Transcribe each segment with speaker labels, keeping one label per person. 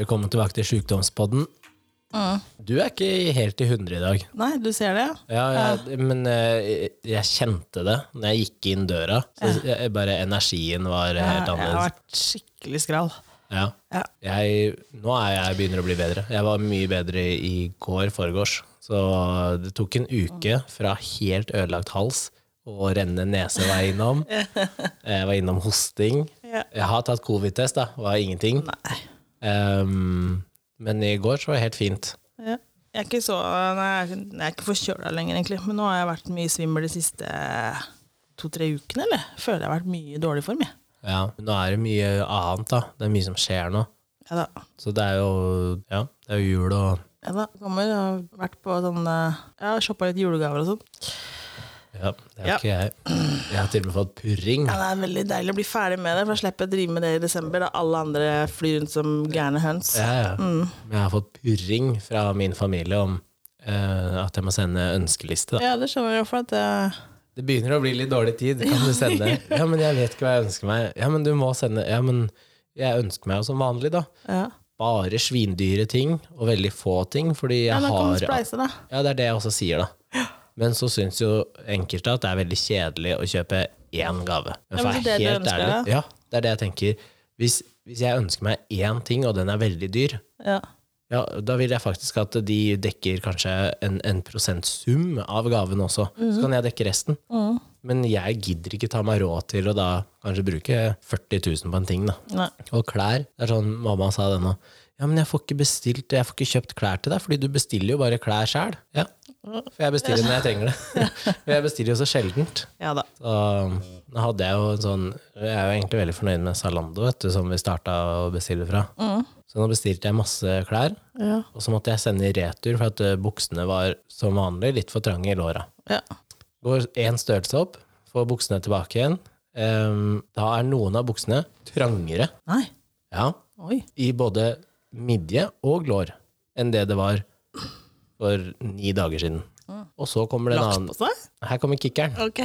Speaker 1: Velkommen tilbake til Sjukdomspodden. Du er ikke helt i hundre i dag.
Speaker 2: Mm. Nei, du ser det?
Speaker 1: Ja, jeg, Men eh, jeg, jeg kjente det når jeg gikk inn døra. Så jeg, bare Energien var
Speaker 2: Jeg,
Speaker 1: helt
Speaker 2: jeg har
Speaker 1: annerledes.
Speaker 2: vært skikkelig skral.
Speaker 1: Ja.
Speaker 2: Ja.
Speaker 1: Jeg, nå er jeg begynner å bli bedre. Jeg var mye bedre i går foregårs. Så det tok en uke fra helt ødelagt hals og renne nese var jeg innom. Jeg var innom hosting.
Speaker 2: Ja.
Speaker 1: Jeg har tatt covid-test, da. Var ingenting.
Speaker 2: Nei.
Speaker 1: Ehm, men i går så var det helt fint.
Speaker 2: Ja. Jeg er ikke så Nei, jeg er ikke- jeg er ikke forkjøla lenger, egentlig. Men nå har jeg vært mye svimmel de siste to-tre ukene, eller? Føler jeg har vært mye i dårlig form, jeg.
Speaker 1: Ja, men nå er det mye annet, da. Det er mye som skjer nå.
Speaker 2: Ja da.
Speaker 1: Så det er jo ja, det er jo jul og
Speaker 2: Ja da. Kommer, jeg har vært på sånn eh, Jeg har shoppa litt julegaver og sånn.
Speaker 1: Ja, det er
Speaker 2: Ja.
Speaker 1: ikke jeg. Jeg har til og med fått purring.
Speaker 2: Ja, det er veldig deilig å bli ferdig med det, for da slipper jeg å drive med det i desember, da alle andre flyr rundt som gærne høns.
Speaker 1: Ja, ja.
Speaker 2: Mm.
Speaker 1: Men jeg har fått purring fra min familie om eh, at jeg må sende ønskeliste. Da.
Speaker 2: Ja, det skjønner jeg, for at eh,
Speaker 1: Det begynner å bli litt dårlig tid. Kan du sende? Ja, men jeg vet ikke hva jeg ønsker meg. Ja, men du må sende. Ja, men jeg ønsker meg jo som vanlig, da.
Speaker 2: Ja,
Speaker 1: Bare svindyre ting, og veldig få ting, fordi jeg
Speaker 2: ja da kan du
Speaker 1: har
Speaker 2: spleise, da.
Speaker 1: Ja, det er det jeg også sier, da. Men så syns jo enkelte at det er veldig kjedelig å kjøpe én gave.
Speaker 2: Ja, men
Speaker 1: for å
Speaker 2: det
Speaker 1: være
Speaker 2: er det du
Speaker 1: helt
Speaker 2: ønsker
Speaker 1: ærlig-
Speaker 2: deg,
Speaker 1: Ja, det er det jeg tenker. Hvis, hvis jeg ønsker meg én ting, og den er veldig dyr,
Speaker 2: Ja.
Speaker 1: ja, da vil jeg faktisk at de dekker kanskje en, en prosentsum av gaven også.
Speaker 2: Mhm.
Speaker 1: Så kan jeg dekke resten. Men jeg gidder ikke ta meg råd til å da kanskje bruke 40 000 på en ting, da.
Speaker 2: Nei.
Speaker 1: Og klær. Det er sånn mamma sa det nå. Ja, men jeg får ikke bestilt Jeg får ikke kjøpt klær til deg, fordi du bestiller jo bare klær sjæl. Ja. For jeg bestiller når jeg trenger det. For jeg bestiller jo så sjeldent.
Speaker 2: Ja da.
Speaker 1: Så um, da hadde jeg jo en sånn Jeg er jo egentlig veldig fornøyd med Zalando, vet du, som vi starta å bestille fra. Så nå bestilte jeg masse klær,
Speaker 2: Ja.
Speaker 1: og så måtte jeg sende i retur for at eh, buksene var som vanlig litt for trange i låra.
Speaker 2: Ja.
Speaker 1: Går én størrelse opp, får buksene tilbake igjen. Ehm, da er noen av buksene trangere.
Speaker 2: Nei.
Speaker 1: Ja,
Speaker 2: Oi.
Speaker 1: i både midje og lår enn det det var for ni dager siden. Og så kommer det en
Speaker 2: Lagt
Speaker 1: annen
Speaker 2: på seg?
Speaker 1: Her kommer kickeren.
Speaker 2: Ok.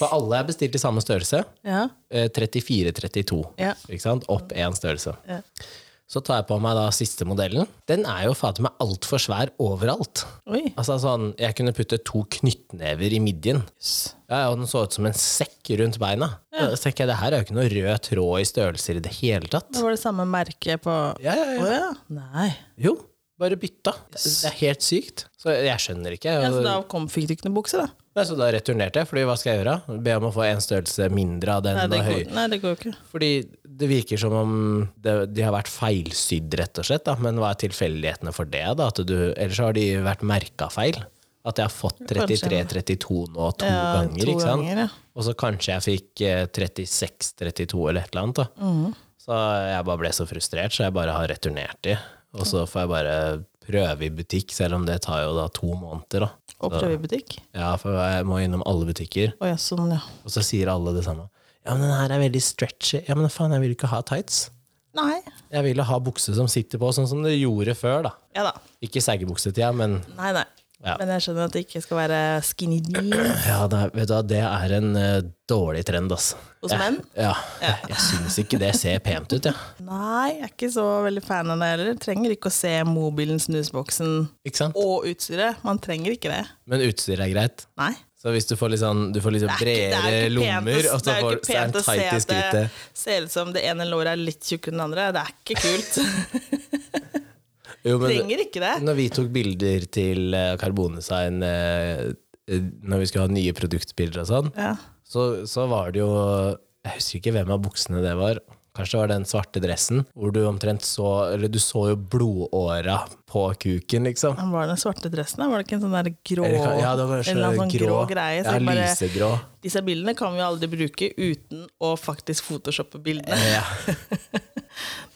Speaker 1: For alle er bestilt i samme størrelse.
Speaker 2: Ja.
Speaker 1: eh, 34-32.
Speaker 2: Ja.
Speaker 1: Ikke sant? Opp én størrelse.
Speaker 2: Ja.
Speaker 1: Så tar jeg på meg da siste modellen. Den er jo fader meg altfor svær overalt.
Speaker 2: Oi.
Speaker 1: Altså sånn, Jeg kunne putte to knyttnever i midjen.
Speaker 2: Jøss.
Speaker 1: Ja, ja, og Den så ut som en sekk rundt beina. Så tenker jeg, Det her er jo ikke noe rød tråd i størrelser i det hele tatt.
Speaker 2: Det var det samme merket på
Speaker 1: Ja, ja,
Speaker 2: Å
Speaker 1: ja.
Speaker 2: ja. Nei.
Speaker 1: Jo, bare bytta. Det er helt sykt. Så jeg skjønner ikke.
Speaker 2: Ja, så da
Speaker 1: Og-
Speaker 2: kom, fikk du ikke noe bukse, da?
Speaker 1: Nei, så da returnerte jeg, fordi hva skal jeg gjøre? Be om å få en størrelse mindre av den.
Speaker 2: Nei, det
Speaker 1: og
Speaker 2: går,
Speaker 1: høy.
Speaker 2: nei, det går jo ikke.
Speaker 1: Fordi det virker som om det, de har vært feilsydd, rett og slett. Da. Men hva er tilfeldighetene for det? da? At du, ellers så har de vært merka feil. At jeg har fått 33-32 nå to
Speaker 2: Ja,
Speaker 1: ganger.
Speaker 2: to
Speaker 1: ikke sant?
Speaker 2: ganger, ja.
Speaker 1: Og så kanskje jeg fikk eh, 36-32 eller et eller annet. Da.
Speaker 2: Mm.
Speaker 1: Så jeg bare ble så frustrert, så jeg bare har returnert de. Og så får jeg bare prøve i butikk, selv om det tar jo da to måneder. Da.
Speaker 2: Og prøvebutikk.
Speaker 1: Ja, for jeg må innom alle butikker,
Speaker 2: Å ja, sånn, ja.
Speaker 1: og så sier alle det samme. Ja, men den her er veldig stretchy. Ja, men faen, jeg vil ikke ha tights.
Speaker 2: Nei.
Speaker 1: Jeg ville ha bukse som sitter på, sånn som det gjorde før, da.
Speaker 2: Ja da.
Speaker 1: Ikke seggebuksetida, men
Speaker 2: Nei, nei.
Speaker 1: Ja.
Speaker 2: Men jeg skjønner at det ikke skal være skinny jeans
Speaker 1: ja, det, er- vet du hva, det er en eh, dårlig trend, altså.
Speaker 2: hos menn.
Speaker 1: Ja, jeg, jeg syns ikke det ser pent ut, jeg. Ja.
Speaker 2: Nei, jeg er ikke så veldig fan av det heller. Trenger ikke å se mobilen, snusboksen
Speaker 1: Ikke sant?
Speaker 2: og utstyret. Man trenger ikke det.
Speaker 1: Men utstyr er greit.
Speaker 2: Nei.
Speaker 1: Så hvis du får litt sånn, du får litt sånn
Speaker 2: Det er ikke-
Speaker 1: bredere
Speaker 2: det er jo ikke pent å-
Speaker 1: lommer, altså og
Speaker 2: det
Speaker 1: så
Speaker 2: er jo
Speaker 1: får
Speaker 2: ikke
Speaker 1: så er
Speaker 2: pent
Speaker 1: den
Speaker 2: å se
Speaker 1: tight i
Speaker 2: at det
Speaker 1: skrittet
Speaker 2: Ser ut som det ene låret er litt tjukkere enn det andre. Det er ikke kult.
Speaker 1: Jo, men
Speaker 2: Trenger ikke det.
Speaker 1: når vi tok bilder til eh, Karbondesign eh, eh, når vi skulle ha nye produktbilder og sånn,
Speaker 2: Ja.
Speaker 1: så, så var det jo Jeg husker ikke hvem av buksene det var. Kanskje det var den svarte dressen, hvor du omtrent så Eller du så jo blodåra på kuken, liksom.
Speaker 2: Men Var det den svarte dressen? da? Var det ikke en sånn der grå,
Speaker 1: Eller kan- ja, det var kanskje
Speaker 2: en eller annen sånn grå, greie? Så
Speaker 1: ja,
Speaker 2: jeg bare,
Speaker 1: lysegrå.
Speaker 2: disse bildene kan vi jo aldri bruke uten å faktisk photoshoppe bildene.
Speaker 1: Ja.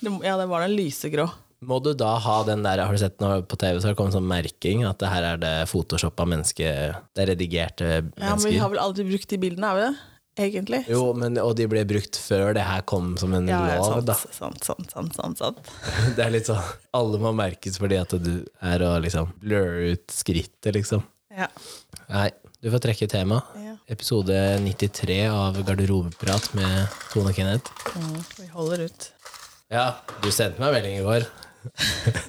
Speaker 2: Det må- Ja, det var den lysegrå.
Speaker 1: Må du da ha den der, har du sett nå på TV, så har det kommet sånn merking at det her er det photoshoppa menneske, det er redigerte
Speaker 2: Ja, men
Speaker 1: mennesker.
Speaker 2: vi har vel aldri brukt de bildene, har vi det? Egentlig.
Speaker 1: Jo, men, og de ble brukt før det her kom som en
Speaker 2: Ja, ja,
Speaker 1: lov,
Speaker 2: sant,
Speaker 1: da.
Speaker 2: sant, sant, sant, sant, sant.
Speaker 1: Det er litt sånn, alle må merkes fordi at du er å liksom blurre ut skrittet, liksom.
Speaker 2: Ja.
Speaker 1: Nei, du får trekke tema.
Speaker 2: Ja.
Speaker 1: Episode 93 av Garderobeprat med Tone Kenneth.
Speaker 2: Vi holder ut.
Speaker 1: Ja, du sendte meg melding i går.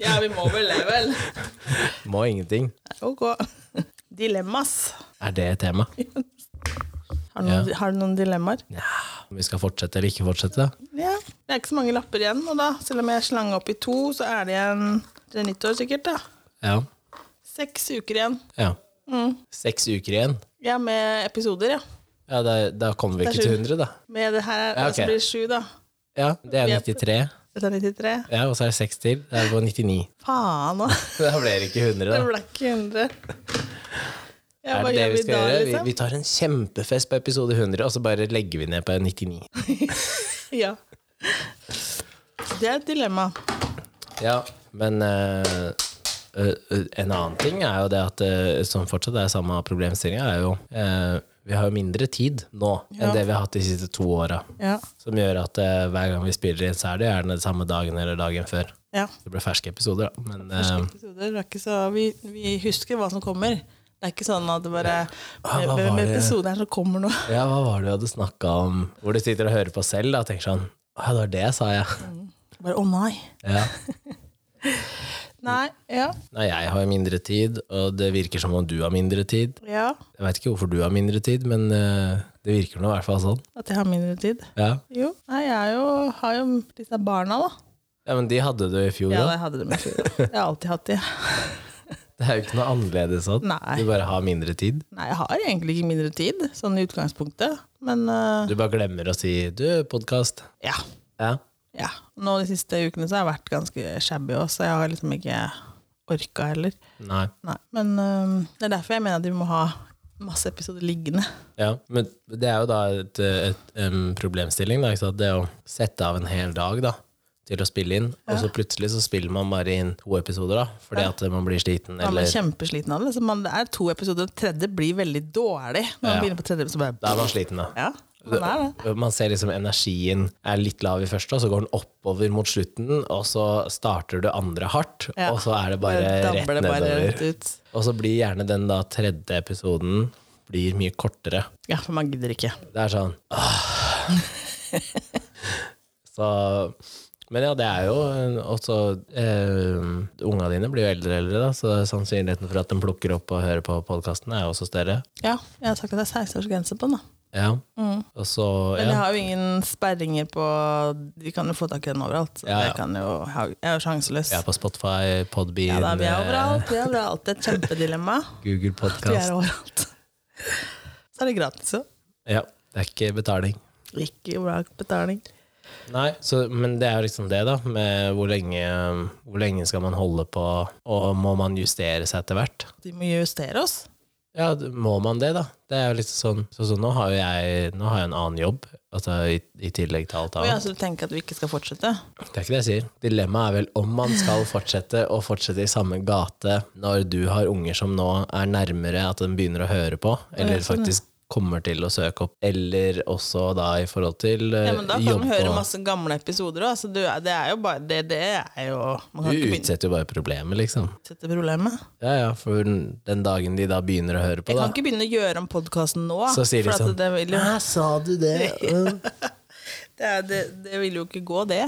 Speaker 2: Ja, vi må vel det, vel.
Speaker 1: Må ingenting.
Speaker 2: Ok. Dilemmas.
Speaker 1: Er det et tema?
Speaker 2: Har du noen, har du noen dilemmaer?
Speaker 1: Nja, om vi skal fortsette eller ikke fortsette?
Speaker 2: Ja. Det er ikke så mange lapper igjen nå, da. Selv om jeg slang opp i to, så er det igjen til nyttår sikkert, da.
Speaker 1: Ja.
Speaker 2: Seks uker igjen.
Speaker 1: ja.
Speaker 2: Mm.
Speaker 1: Seks uker igjen?
Speaker 2: Ja, med episoder, ja.
Speaker 1: Ja, da, da kommer vi
Speaker 2: Det er
Speaker 1: ikke til
Speaker 2: sju.
Speaker 1: 100, da.
Speaker 2: Med det her er
Speaker 1: Ja,
Speaker 2: det som
Speaker 1: ok.
Speaker 2: blir sju, da.
Speaker 1: Ja, Det er
Speaker 2: Ja.
Speaker 1: 93,
Speaker 2: Dette er 93.
Speaker 1: ja, og så er det seks til. Da er det bare 99.
Speaker 2: Faen, da.
Speaker 1: Da ble det ikke 100, da.
Speaker 2: Det ble ikke 100. Ja,
Speaker 1: Er
Speaker 2: hva
Speaker 1: det det
Speaker 2: gjør
Speaker 1: vi
Speaker 2: vi
Speaker 1: skal
Speaker 2: da,
Speaker 1: gjøre?
Speaker 2: liksom?
Speaker 1: Vi, vi tar en kjempefest på episode 100, og så bare legger vi ned på 99.
Speaker 2: Ja. Det er et dilemma.
Speaker 1: Ja, men eh, eh, en annen ting er jo det at eh, som fortsatt er samme problemstillinga, er jo eh, vi har jo mindre tid nå
Speaker 2: Ja.
Speaker 1: enn det vi har hatt de siste to åra.
Speaker 2: Ja.
Speaker 1: Som gjør at eh, hver gang vi spiller inn, så er det gjerne samme dagen eller dagen før.
Speaker 2: ja.
Speaker 1: Det blir ferske episoder, da. Men
Speaker 2: Første
Speaker 1: eh,
Speaker 2: episode, det er ikke så, vi, vi husker hva som kommer. Det er ikke sånn at det bare
Speaker 1: Ah,
Speaker 2: med,
Speaker 1: hva
Speaker 2: med,
Speaker 1: var
Speaker 2: med
Speaker 1: det?
Speaker 2: episoden her så kommer noe.
Speaker 1: ja, hva var det vi hadde snakka om? Hvor du sitter og hører på selv da, og tenker sånn Ja, det var det, sa jeg.
Speaker 2: Bare å nei.
Speaker 1: Ja.
Speaker 2: Nei. Ja.
Speaker 1: Nei, jeg har jo mindre tid, og det virker som om du har mindre tid.
Speaker 2: ja.
Speaker 1: Jeg veit ikke hvorfor du har mindre tid, men eh, det virker nå i hvert fall sånn.
Speaker 2: At jeg har mindre tid.
Speaker 1: Ja.
Speaker 2: Jo. Nei, jeg er jo, har jo disse barna, da.
Speaker 1: ja, men de hadde det i fjor
Speaker 2: Ja,
Speaker 1: òg.
Speaker 2: jeg hadde dem i fjor. da. Jeg har alltid hatt de.
Speaker 1: Det er jo ikke noe annerledes sånn.
Speaker 2: Nei.
Speaker 1: Du bare har mindre tid.
Speaker 2: Nei, jeg har egentlig ikke mindre tid, sånn i utgangspunktet. Men øh,
Speaker 1: Du bare glemmer å si 'du, podkast'.
Speaker 2: ja.
Speaker 1: Ja.
Speaker 2: ja. Nå de siste ukene så har jeg vært ganske shabby også, så jeg har liksom ikke orka heller.
Speaker 1: Nei.
Speaker 2: Nei. Men øh, det er derfor jeg mener at vi må ha masse episoder liggende.
Speaker 1: Ja, men det er jo da et, et, en problemstilling, da, ikke sant? det å sette av en hel dag da, til å spille inn, og så plutselig så spiller man bare inn to episoder da, fordi at man blir sliten,
Speaker 2: Man blir
Speaker 1: eller
Speaker 2: kjempesliten av det. Så man, det er to episoder, og tredje blir veldig dårlig. Når man
Speaker 1: Ja.
Speaker 2: begynner på tredje episode, bare
Speaker 1: da er man sliten da.
Speaker 2: Ja, man er det.
Speaker 1: Man ser liksom energien er litt lav i første, og så går den oppover mot slutten, og så starter du andre hardt,
Speaker 2: Ja.
Speaker 1: og så er det bare
Speaker 2: dabber
Speaker 1: rett
Speaker 2: det bare
Speaker 1: nedover.
Speaker 2: rett ut.
Speaker 1: Og så blir gjerne den da tredje episoden blir mye kortere.
Speaker 2: Ja, for man gidder ikke.
Speaker 1: Det er sånn ah. Så Men ja, det er jo også eh, Unga dine blir jo eldre og eldre, da, så sannsynligheten for at de plukker opp og hører på podkasten, er jo også større.
Speaker 2: Ja, jeg har sagt at det er 16-årsgrense på den, da.
Speaker 1: Ja. Og så
Speaker 2: Mm. Men jeg
Speaker 1: ja.
Speaker 2: har jo ingen sperringer på Vi kan jo få tak i den overalt. Så
Speaker 1: Ja, ja.
Speaker 2: Jeg, kan jo, ha- jeg er jo sjanseløs.
Speaker 1: Jeg er på Spotify, Podbean,
Speaker 2: Ja, da, vi er
Speaker 1: eh,
Speaker 2: overalt. Vi er overalt. Det er et kjempedilemma.
Speaker 1: Google
Speaker 2: Vi er
Speaker 1: Podcast.
Speaker 2: overalt. Så er det gratis òg.
Speaker 1: Ja, det er ikke betaling.
Speaker 2: Ikke bra betaling.
Speaker 1: Nei, så, men det er jo liksom det, da. Med hvor lenge, hvor lenge skal man holde på, og må man justere seg etter hvert?
Speaker 2: Vi må justere oss.
Speaker 1: Ja, d- må man det, da? Det er jo litt sånn Så, så nå, har jo jeg, nå har jeg en annen jobb, altså i, i tillegg til alt
Speaker 2: Og jeg
Speaker 1: annet.
Speaker 2: altså tenker at vi ikke skal fortsette.
Speaker 1: Det er ikke det jeg sier. Dilemmaet er vel om man skal fortsette å fortsette i samme gate når du har unger som nå er nærmere at de begynner å høre på, eller
Speaker 2: sånn,
Speaker 1: faktisk kommer til å søke opp, eller også da i forhold til eh,
Speaker 2: Ja, men da kan
Speaker 1: jobb
Speaker 2: vi høre
Speaker 1: og-
Speaker 2: masse gamle episoder òg. Det, er- det er jo bare det, det er jo Man kan
Speaker 1: Du
Speaker 2: ikke begynne
Speaker 1: utsetter jo bare problemet, liksom.
Speaker 2: å utsette problemet.
Speaker 1: Ja, ja, for den den dagen de da begynner å høre på,
Speaker 2: Jeg
Speaker 1: da,
Speaker 2: kan ikke begynne å gjøre om podkasten nå.
Speaker 1: så sier de
Speaker 2: for at
Speaker 1: sånn
Speaker 2: det, vil jo,
Speaker 1: Hæ, sa du det? Mm.
Speaker 2: det, er- det, det vil jo ikke gå, det.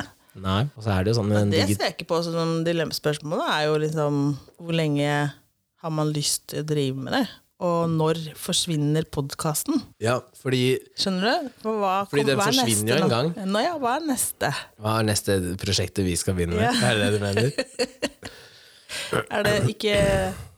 Speaker 1: Nei, og så er det jo sånn en
Speaker 2: Det
Speaker 1: digi-
Speaker 2: ser jeg ikke på som dilemmaspørsmål. da, er jo liksom hvor lenge har man lyst til å drive med det? Og når forsvinner podkasten?
Speaker 1: Ja, fordi
Speaker 2: Skjønner du? For hva,
Speaker 1: Fordi
Speaker 2: kom-
Speaker 1: den
Speaker 2: hva er
Speaker 1: forsvinner
Speaker 2: neste
Speaker 1: jo en
Speaker 2: nå?
Speaker 1: gang.
Speaker 2: Nå, ja, hva er neste?
Speaker 1: Hva er neste prosjektet vi skal begynne med? Er det det du mener?
Speaker 2: Er det ikke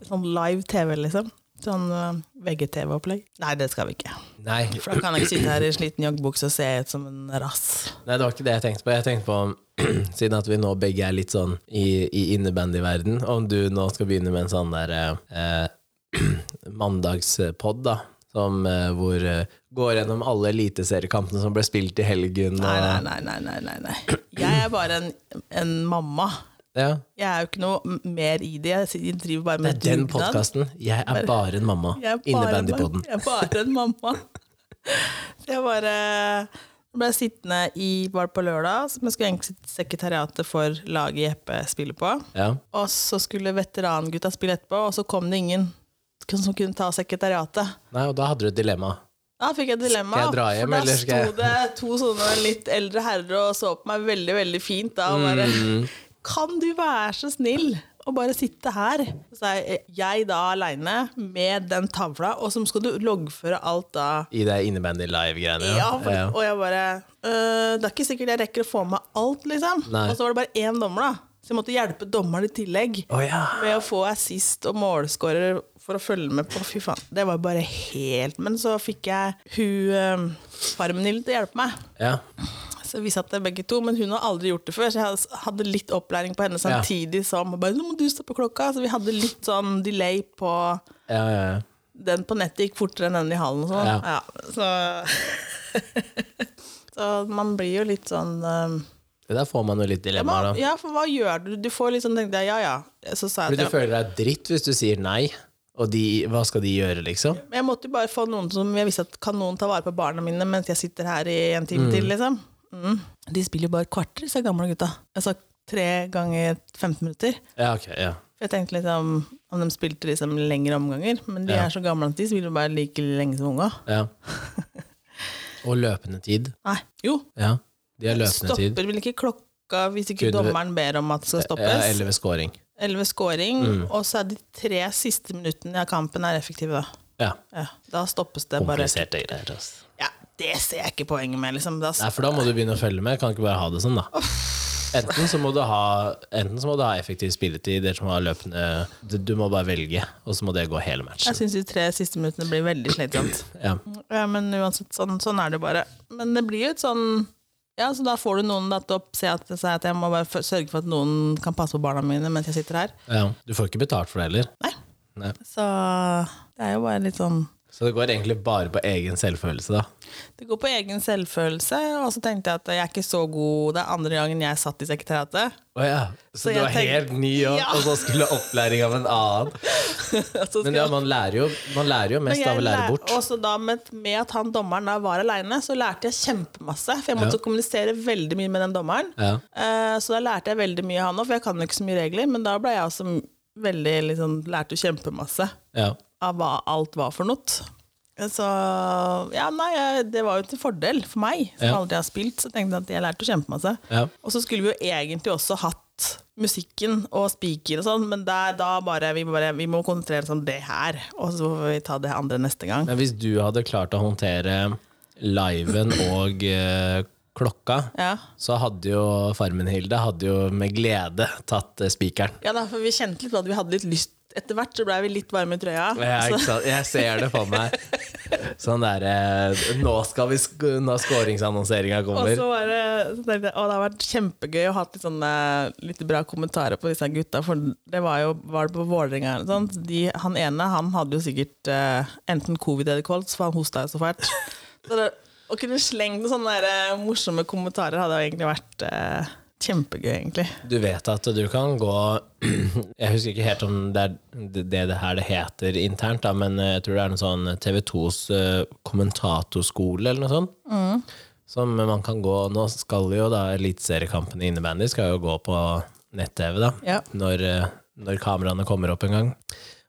Speaker 2: sånn live TV, liksom? Sånn øh, VGTV-opplegg? Nei, det skal vi ikke.
Speaker 1: Nei,
Speaker 2: For da kan jeg ikke sitte her i en sliten joggebukse og se ut som en rass.
Speaker 1: nei, det var ikke det jeg tenkte på. Jeg tenkte på, siden at vi nå begge er litt sånn i, i innebandyverden, om du nå skal begynne med en sånn der eh, mandagspod, da. Som, eh, hvor eh, går gjennom alle eliteseriekampene som ble spilt i helgen. Og,
Speaker 2: Nei, nei, nei, nei, nei, nei, nei. Jeg er bare en, en mamma.
Speaker 1: Ja,
Speaker 2: Jeg er jo ikke noe m- mer i det. Jeg sitter- driver bare
Speaker 1: det
Speaker 2: med
Speaker 1: er den
Speaker 2: dugnad.
Speaker 1: podkasten. Jeg er bare en mamma.
Speaker 2: Jeg er bare-
Speaker 1: Innebandypodden.
Speaker 2: Jeg er bare en mamma. Så jeg bare ble sittende i bar på lørdag, som jeg skulle egentlig sitte i sekretariatet for laget Jeppe spiller på.
Speaker 1: Ja.
Speaker 2: Og så skulle veterangutta spille etterpå, og så kom det ingen som kunne ta sekretariatet.
Speaker 1: Nei, og da hadde du et dilemma.
Speaker 2: Da fikk jeg et dilemma.
Speaker 1: Skal jeg dra hjem,
Speaker 2: for da
Speaker 1: eller skal jeg- Mm.
Speaker 2: sto det to sånne litt eldre herrer og så på meg veldig, veldig fint da, og bare Kan du være så snill å bare sitte her? Så er jeg da aleine med den tavla, og så skal du loggføre alt da.
Speaker 1: I det innebandy live-greiene.
Speaker 2: Ja, for, Og jeg bare øh, Det er ikke sikkert jeg rekker å få med alt, liksom.
Speaker 1: Nei.
Speaker 2: Og så var det bare én dommer, da. Så jeg måtte hjelpe dommeren i tillegg
Speaker 1: Å ja.
Speaker 2: med å få assist og målskårer for å følge med på. Fy faen, det var bare helt Men så fikk jeg hun eh, Farmenhild til å hjelpe meg.
Speaker 1: ja.
Speaker 2: Så vi satt der begge to, men hun har aldri gjort det før, så jeg hadde- hadde litt opplæring på henne
Speaker 1: Ja.
Speaker 2: samtidig som bare, Nå må du stå på klokka. Så vi hadde litt sånn delay på
Speaker 1: Ja, ja, ja.
Speaker 2: Den på nettet gikk fortere enn den i hallen og sånn.
Speaker 1: Ja.
Speaker 2: Ja, så Så man blir jo litt sånn eh,
Speaker 1: Det der får man jo litt dilemmaer,
Speaker 2: man,
Speaker 1: da.
Speaker 2: Ja, for hva gjør du? Du får litt sånn tenkte jeg, ja ja. Så sa jeg
Speaker 1: Fordi
Speaker 2: til
Speaker 1: du føler deg dritt hvis du sier nei, og de, hva skal de gjøre, liksom?
Speaker 2: Men Jeg måtte jo bare få noen som jeg visste at kan noen ta vare på barna mine mens jeg sitter her i en time til, liksom. Mm. De spiller jo bare kvarter, disse gamle gutta. Jeg sa tre ganger 15 minutter.
Speaker 1: Ja, ok, ja.
Speaker 2: For jeg tenkte liksom om de spilte liksom lengre omganger, men de
Speaker 1: Ja.
Speaker 2: er så gamle at de spiller bare like lenge som unga.
Speaker 1: ja. Og løpende tid.
Speaker 2: Nei, jo.
Speaker 1: Ja. De har løpende tid.
Speaker 2: Stopper vel ikke klokka hvis ikke
Speaker 1: Kunne vi-
Speaker 2: dommeren ber om at det skal
Speaker 1: Ja,
Speaker 2: stoppes.
Speaker 1: eller Mm. ved scoring.
Speaker 2: Elleve scoring, og så er de tre siste minuttene av kampen er effektive, da.
Speaker 1: Ja.
Speaker 2: Ja, da stoppes det bare.
Speaker 1: Kompliserte greier. Altså.
Speaker 2: Ja, det ser jeg ikke poenget med, liksom. Da
Speaker 1: Nei, for da må du begynne å følge med. Kan ikke bare ha det sånn, da. Enten så må du ha, enten så må du ha effektiv spilletid, eller så må du ha løpende du, du må bare velge, og så må det gå hele matchen.
Speaker 2: Jeg syns de tre siste minuttene blir veldig slitsomt.
Speaker 1: Ja.
Speaker 2: Ja, men uansett, sånn, sånn er det jo bare. Men det blir jo et sånn Ja, så da får du noen da til å se at, si at jeg må bare f- sørge for at noen kan passe på barna mine mens jeg sitter her.
Speaker 1: Ja. Du får ikke betalt for det heller.
Speaker 2: Nei.
Speaker 1: Nei.
Speaker 2: Så det er jo bare litt sånn
Speaker 1: Så det går egentlig bare på egen selvfølelse, da.
Speaker 2: Det går på egen selvfølelse, og så tenkte jeg at jeg er ikke så god Det er andre gangen jeg satt i sekretariatet.
Speaker 1: Å ja. Så,
Speaker 2: Så
Speaker 1: du
Speaker 2: jeg
Speaker 1: var helt ny, og,
Speaker 2: Ja.
Speaker 1: og så skulle opplæring av en annen.
Speaker 2: Så skal
Speaker 1: Men ja, man lærer jo, man lærer jo mest
Speaker 2: jeg
Speaker 1: av å lære
Speaker 2: lær-
Speaker 1: bort.
Speaker 2: Og så da med, med at han dommeren da var aleine, så lærte jeg kjempemasse. For jeg måtte
Speaker 1: Ja.
Speaker 2: kommunisere veldig mye med den dommeren.
Speaker 1: Ja.
Speaker 2: Eh, Så da lærte jeg veldig mye av han òg, for jeg kan jo ikke så mye regler. Men da ble jeg også veldig liksom, lærte jo kjempemasse
Speaker 1: Ja.
Speaker 2: av hva alt var for noe. Så ja, nei, jeg- det var jo til fordel for meg, som
Speaker 1: Ja.
Speaker 2: aldri har spilt. Så tenkte jeg at jeg lærte jo kjempemasse.
Speaker 1: Ja.
Speaker 2: Og så skulle vi jo egentlig også hatt musikken og spiker og sånn, men der, da bare vi, bare vi må konsentrere oss om det her, og så får vi ta det andre neste gang.
Speaker 1: Men hvis du hadde klart å håndtere liven og eh, klokka,
Speaker 2: Ja.
Speaker 1: så hadde jo farmen Hilde hadde jo med glede tatt eh, spikeren.
Speaker 2: Ja, da, for vi kjente litt på at vi hadde litt lyst Etter hvert så blei vi litt varme i trøya.
Speaker 1: Ja,
Speaker 2: så-
Speaker 1: ikke sant? Jeg ser det for meg. Altså. Sånn derre Nå skal vi sk Når skåringsannonseringa
Speaker 2: Og så
Speaker 1: kommer.
Speaker 2: var det, så tenkte jeg, å, det har vært kjempegøy å ha litt, sånne, litt bra kommentarer på disse gutta. For det var jo var det på Vålerenga eller noe sånt. De, han ene han hadde jo sikkert eh, enten covid eller kols, for han hosta jo så fælt. Så det, å kunne slenge noen sånne der, eh, morsomme kommentarer hadde jo egentlig vært eh, kjempegøy, egentlig.
Speaker 1: Du vet at du kan gå Jeg husker ikke helt om det er det det her det heter internt, da, men jeg tror det er en sånn TV2s eh, kommentatorskole eller noe sånt.
Speaker 2: Mm.
Speaker 1: Som man kan gå Nå skal jo da eliteseriekampene i innebandy skal jo gå på nett-TV, da.
Speaker 2: Ja.
Speaker 1: Når, eh, når kameraene kommer opp en gang.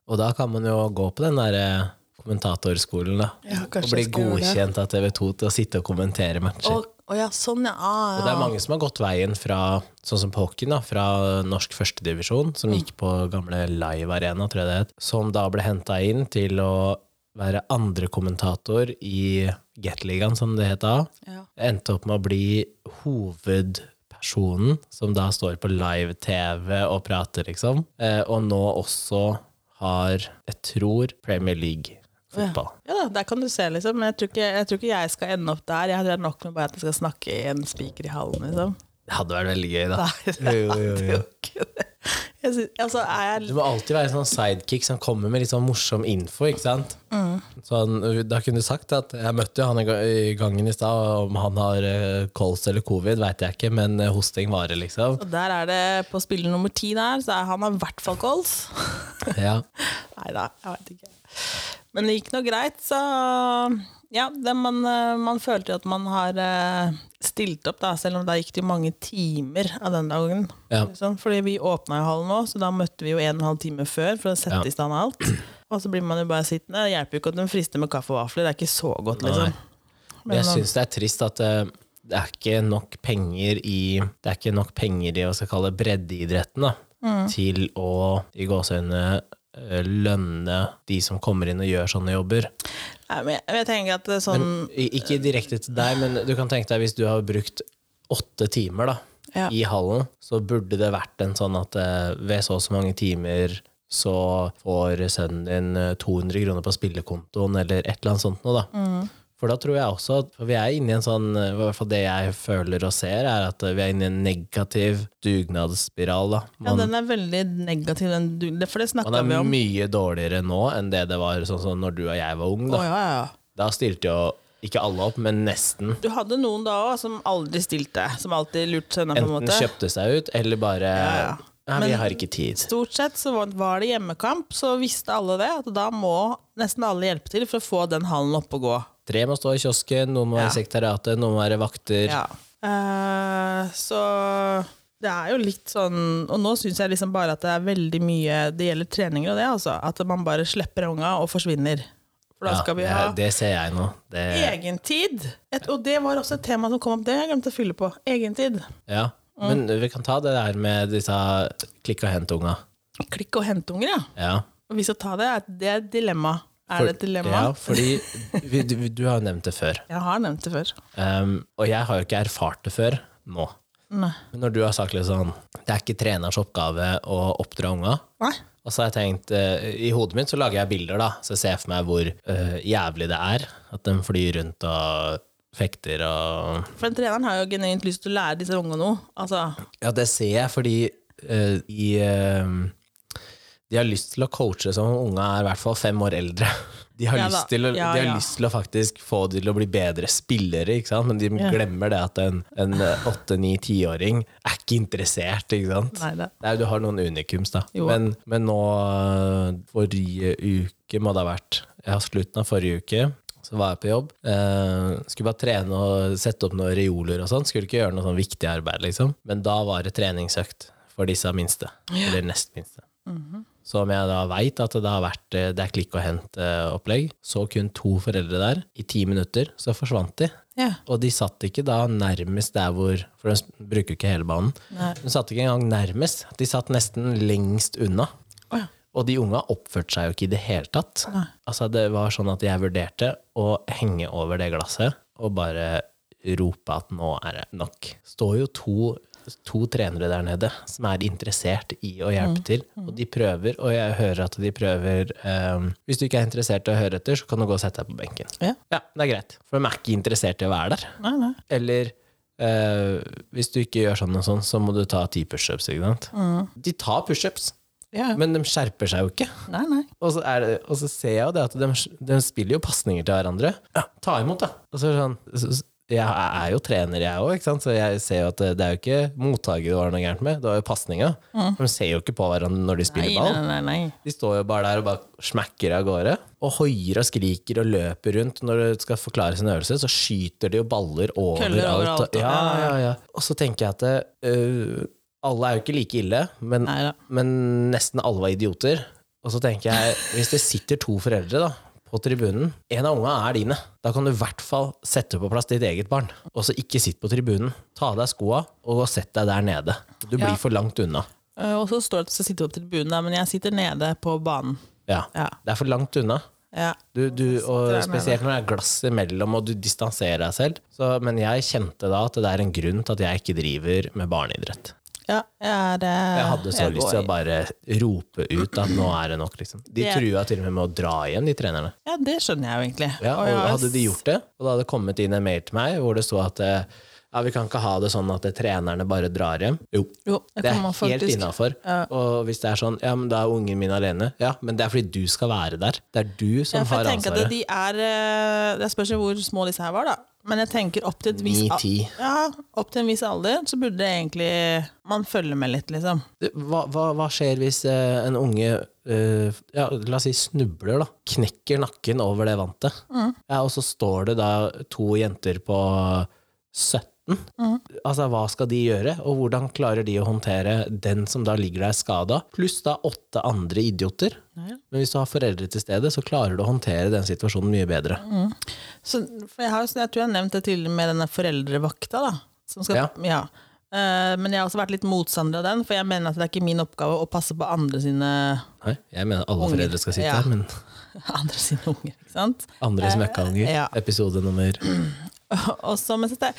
Speaker 1: Og da kan man jo gå på den derre kommentatorskolen, da.
Speaker 2: Ja, kanskje
Speaker 1: og bli
Speaker 2: jeg skal gjøre det.
Speaker 1: godkjent av TV2 til å sitte og kommentere matcher.
Speaker 2: Å å ja, sånn ja.
Speaker 1: Og
Speaker 2: Ah,
Speaker 1: det
Speaker 2: ja.
Speaker 1: er mange som har gått veien fra sånn som Polken, da, fra norsk førstedivisjon, som gikk på gamle Live Arena, tror jeg det het, som da ble henta inn til å være andrekommentator i Gateligaen, som det het da.
Speaker 2: Ja.
Speaker 1: Endte opp med å bli hovedpersonen, som da står på live-TV og prater, liksom. Eh, Og nå også har, jeg tror, Premier League-fotball.
Speaker 2: Ja da, der kan du se, liksom. Men jeg tror ikke jeg, tror ikke jeg skal ende opp der. Jeg tror det er nok med bare at jeg skal snakke i en spiker i hallen, liksom.
Speaker 1: Det hadde vært veldig gøy, da.
Speaker 2: Nei, det
Speaker 1: Jo, jo, jo,
Speaker 2: hadde
Speaker 1: jo.
Speaker 2: jo ikke det. Jeg synes, altså, er
Speaker 1: Du
Speaker 2: jeg,
Speaker 1: må alltid være en sånn sidekick som kommer med litt sånn morsom info, ikke sant? Sånn, da kunne du sagt at jeg møtte jo han i ga- i gangen i stad, og om han har eh, kols eller covid, veit jeg ikke, men eh, hosting varer, liksom.
Speaker 2: og der er det på spiller nummer ti der, så er han har i hvert fall goals.
Speaker 1: Ja.
Speaker 2: Nei da, jeg veit ikke. Men det gikk nå greit, så ja, det man, eh, man følte jo at man har eh, stilt opp, da, selv om da gikk det jo mange timer av den dagen.
Speaker 1: Ja.
Speaker 2: Liksom, fordi vi åpna jo hallen nå, så da møtte vi jo en og en halv time før for å sette
Speaker 1: Ja.
Speaker 2: i stand alt. Og så blir man jo bare sittende. Det hjelper jo ikke at de frister med kaffe og vafler, det er ikke så godt, liksom.
Speaker 1: Nei. Men jeg syns det er trist at eh, det er ikke nok penger i Det er ikke nok penger i hva skal jeg kalle breddeidretten da, til å i gåseøynene eh, lønne de som kommer inn og gjør sånne jobber.
Speaker 2: Nei, eh, men jeg, jeg tenker at det er sånn
Speaker 1: I- Ikke direkte til deg, men du kan tenke deg hvis du har brukt åtte timer da,
Speaker 2: Ja.
Speaker 1: i hallen, så burde det vært en sånn at eh, ved så og så mange timer så får sønnen din eh, 200 kroner på spillekontoen, eller et eller annet sånt noe, da.
Speaker 2: Mm.
Speaker 1: For da tror jeg også at for vi er inne i en sånn eh, i hvert fall det jeg føler og ser, er at eh, vi er inne i en negativ dugnadsspiral. da.
Speaker 2: Ja,
Speaker 1: Man,
Speaker 2: den er veldig negativ, den du, det, for det snakka
Speaker 1: man
Speaker 2: vi
Speaker 1: er
Speaker 2: om.
Speaker 1: mye dårligere nå enn det det var sånn som når du og jeg var ung.
Speaker 2: Å,
Speaker 1: Da,
Speaker 2: ja, ja.
Speaker 1: da stilte jo ikke alle opp, men nesten.
Speaker 2: Du hadde noen da òg som aldri stilte, som alltid lurte seg unna. på en
Speaker 1: Enten
Speaker 2: måte.
Speaker 1: kjøpte seg ut, eller bare
Speaker 2: Ja, ja.
Speaker 1: Nei, vi
Speaker 2: Men-
Speaker 1: har ikke tid.
Speaker 2: Stort sett så var- var det hjemmekamp, så visste alle det. At da må nesten alle hjelpe til for å få den hallen opp og gå.
Speaker 1: Tre må stå i kiosken, noen må være i sekretariatet, noen må være vakter.
Speaker 2: Ja. Eh, så det er jo litt sånn Og nå syns jeg liksom bare at det er veldig mye Det gjelder treninger og det, altså. At man bare slipper unga og forsvinner. For da
Speaker 1: Ja,
Speaker 2: skal vi
Speaker 1: det,
Speaker 2: ha
Speaker 1: det ser jeg nå. Det,
Speaker 2: egentid. Et, og det var også et tema som kom opp, det har jeg glemt å fylle på. Egentid.
Speaker 1: ja. Men
Speaker 2: Mm.
Speaker 1: vi kan ta det der med disse klikk og hent-unga.
Speaker 2: Klikk og hentunger, ja.
Speaker 1: Ja.
Speaker 2: Og vi skal ta det. er- Det er et dilemma. Er
Speaker 1: For-
Speaker 2: det et
Speaker 1: Ja,
Speaker 2: dilemma?
Speaker 1: fordi vi, du, du har jo nevnt det før.
Speaker 2: Jeg har nevnt det før.
Speaker 1: Um, og jeg har jo ikke erfart det før nå.
Speaker 2: Nei.
Speaker 1: Men når du har sagt litt sånn Det er ikke treners oppgave å oppdra unga.
Speaker 2: Nei.
Speaker 1: Og så har jeg tenkt, eh, I hodet mitt så lager jeg bilder, da, så jeg ser for meg hvor eh, jævlig det er. At de flyr rundt og fekter og
Speaker 2: For den treneren har jo genuint lyst til å lære disse ungene noe. Altså,
Speaker 1: Ja, det ser jeg, fordi eh, de, eh, de har lyst til å coache som om unga er i hvert fall fem år eldre. De har,
Speaker 2: Ja da,
Speaker 1: lyst, til å,
Speaker 2: ja,
Speaker 1: de har
Speaker 2: ja.
Speaker 1: lyst til å faktisk få de til å bli bedre spillere, ikke sant? men de glemmer det at en, en åtte, ni, tiåring er ikke interessert. ikke sant?
Speaker 2: nei da.
Speaker 1: Nei, du har noen unikums, da.
Speaker 2: Jo.
Speaker 1: Men, men nå øh, forrige uke må det ha vært Ja, slutten av forrige uke. Så var jeg på jobb. Eh, skulle bare trene og sette opp noen reoler og sånn. Skulle ikke gjøre noe sånn viktig arbeid, liksom. Men da var det treningsøkt for disse minste. Eller nest minste. Så om jeg da veit at det har vært eh, det er klikk og hent-opplegg, så kun to foreldre der. I ti minutter så forsvant de.
Speaker 2: Ja.
Speaker 1: Og de satt ikke da nærmest der hvor For de bruker jo ikke hele banen.
Speaker 2: Nei.
Speaker 1: De satt ikke engang nærmest. De satt nesten lengst unna.
Speaker 2: Å, ja.
Speaker 1: Og de unga oppførte seg jo ikke i det hele tatt.
Speaker 2: Nei.
Speaker 1: Altså Det var sånn at jeg vurderte å henge over det glasset og bare rope at nå er det nok. Står jo to, to trenere der nede som er interessert i å
Speaker 2: Mm.
Speaker 1: hjelpe til, og de prøver, og jeg hører at de prøver ehm, Hvis du ikke er interessert i å høre etter, så kan du gå og sette deg på benken.
Speaker 2: Ja.
Speaker 1: Ja, det er greit, for de er ikke interessert i å være der.
Speaker 2: Nei, nei.
Speaker 1: Eller eh, hvis du ikke gjør sånn og sånn, så må du ta ti pushups. ikke sant? De tar pushups,
Speaker 2: Ja.
Speaker 1: men de skjerper seg jo ikke.
Speaker 2: nei, nei.
Speaker 1: Og så, er det, og så ser jeg jo det at de, de spiller jo pasninger til hverandre. Ja, ta imot, da! Og så er det sånn, så, så- jeg er jo trener, jeg òg, så jeg ser jo at det, det er jo ikke mottaker det var noe gærent med, det var jo pasninga. De ser jo ikke på hverandre når de
Speaker 2: Nei,
Speaker 1: spiller ball.
Speaker 2: nei, nei, nei.
Speaker 1: De står jo bare der og bare smekker av gårde. Og hoier og skriker og løper rundt. Når du skal forklare sin øvelse, så skyter de jo baller
Speaker 2: Køller
Speaker 1: overalt.
Speaker 2: overalt,
Speaker 1: Ja, ja, ja. Og så tenker jeg at øh, alle er jo ikke like ille, men,
Speaker 2: Nei da.
Speaker 1: men nesten alle var idioter. Og så tenker jeg, hvis det sitter to foreldre da, på tribunen, en av unga er dine, da kan du i hvert fall sette på plass ditt eget barn. Og så ikke sitt på tribunen. Ta av deg skoa og sett deg der nede. Du blir
Speaker 2: Ja.
Speaker 1: for langt unna.
Speaker 2: Eh, Og så står det at du skal sitte på tribunen, der, men jeg sitter nede på banen.
Speaker 1: Ja.
Speaker 2: Ja.
Speaker 1: Det er for langt unna.
Speaker 2: Ja.
Speaker 1: Du, du, og
Speaker 2: der nede.
Speaker 1: spesielt når det er glass imellom og du distanserer deg selv. Så, men jeg kjente da at det er en grunn til at jeg ikke driver med barneidrett.
Speaker 2: ja jeg er eh,
Speaker 1: Jeg hadde så
Speaker 2: jeg
Speaker 1: lyst
Speaker 2: går
Speaker 1: til
Speaker 2: i-
Speaker 1: å bare rope ut at nå er det nok, liksom. De
Speaker 2: Det-
Speaker 1: trua til og med med å dra igjen, de trenerne.
Speaker 2: Ja, det skjønner jeg jo egentlig.
Speaker 1: Ja,
Speaker 2: Og
Speaker 1: og
Speaker 2: jeg har-
Speaker 1: hadde de gjort det, og det hadde kommet inn en mail til meg hvor det sto at eh, ja, vi kan ikke ha det sånn at eh, trenerne bare drar hjem. Jo,
Speaker 2: Jo, det,
Speaker 1: det
Speaker 2: kan man
Speaker 1: er helt
Speaker 2: faktisk.
Speaker 1: innafor. Og hvis det er sånn, ja, men da er ungen min alene. Ja, men det er fordi du skal være der. Det er du
Speaker 2: Ja,
Speaker 1: som
Speaker 2: for jeg
Speaker 1: har
Speaker 2: tenker at
Speaker 1: ansvaret.
Speaker 2: de er eh, Jeg spørs jo hvor små disse her var, da. Men jeg tenker opp til, et vis,
Speaker 1: Ni,
Speaker 2: al-
Speaker 1: ti.
Speaker 2: ja, opp til en viss alder så burde egentlig man følge med litt, liksom.
Speaker 1: Du, Hva, hva, hva skjer hvis eh, en unge eh, ja, La oss si snubler, da. Knekker
Speaker 2: Mm.
Speaker 1: nakken over det vantet. Ja, og så står det da to jenter på 17 midten.
Speaker 2: Mm.
Speaker 1: Altså, hva skal de gjøre, og hvordan klarer de å håndtere den som da ligger der skada, pluss da åtte andre idioter?
Speaker 2: Ja.
Speaker 1: Men hvis du har foreldre til stede, så klarer du å håndtere den situasjonen mye bedre.
Speaker 2: Mm. Så, for jeg, har, jo- jeg tror jeg har nevnt det tidligere med denne foreldrevakta. da. Som skal,
Speaker 1: Ja.
Speaker 2: ja. Eh, men jeg har også vært litt motstander av den, for jeg mener at det er ikke min oppgave å passe på andre sine,
Speaker 1: Nei, jeg mener alle
Speaker 2: Unger,
Speaker 1: foreldre skal sitte
Speaker 2: ja.
Speaker 1: her, men
Speaker 2: andre sine unger. ikke sant?
Speaker 1: andre smøkkaunger.
Speaker 2: Eh, ja.
Speaker 1: Episode nummer
Speaker 2: Og så, men så det,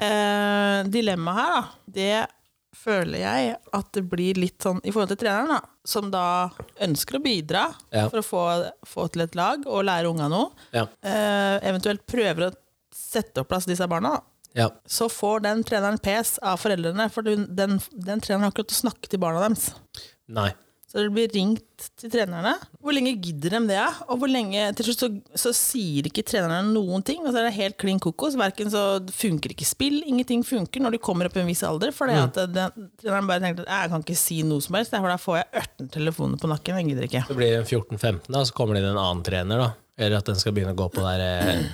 Speaker 2: eh, dilemmaet her, da, det føler jeg at det blir litt sånn i forhold til treneren, da, som da ønsker å bidra
Speaker 1: Ja.
Speaker 2: for å få, få til et lag og lære unga noe,
Speaker 1: Ja.
Speaker 2: eh, eventuelt prøver å sette opp plass til disse barna, da.
Speaker 1: ja.
Speaker 2: så får den treneren pes av foreldrene, for den, den, den treneren har ikke lov til å snakke til barna deres.
Speaker 1: Nei.
Speaker 2: Så det blir ringt til trenerne. Hvor lenge gidder de det? Og hvor lenge, til slutt så, så sier ikke trenerne noen ting. Og så er det helt klin kokos. Verken så funker ikke spill, ingenting funker når de kommer opp i en viss alder. For
Speaker 1: Mm.
Speaker 2: at eh, den, treneren bare tenker at jeg kan ikke si noe som helst, for da får jeg 18 telefoner på nakken. Jeg gidder ikke.
Speaker 1: Så blir det 14-15, da, så kommer det inn en annen trener, da. Eller at den skal begynne å gå på der eh,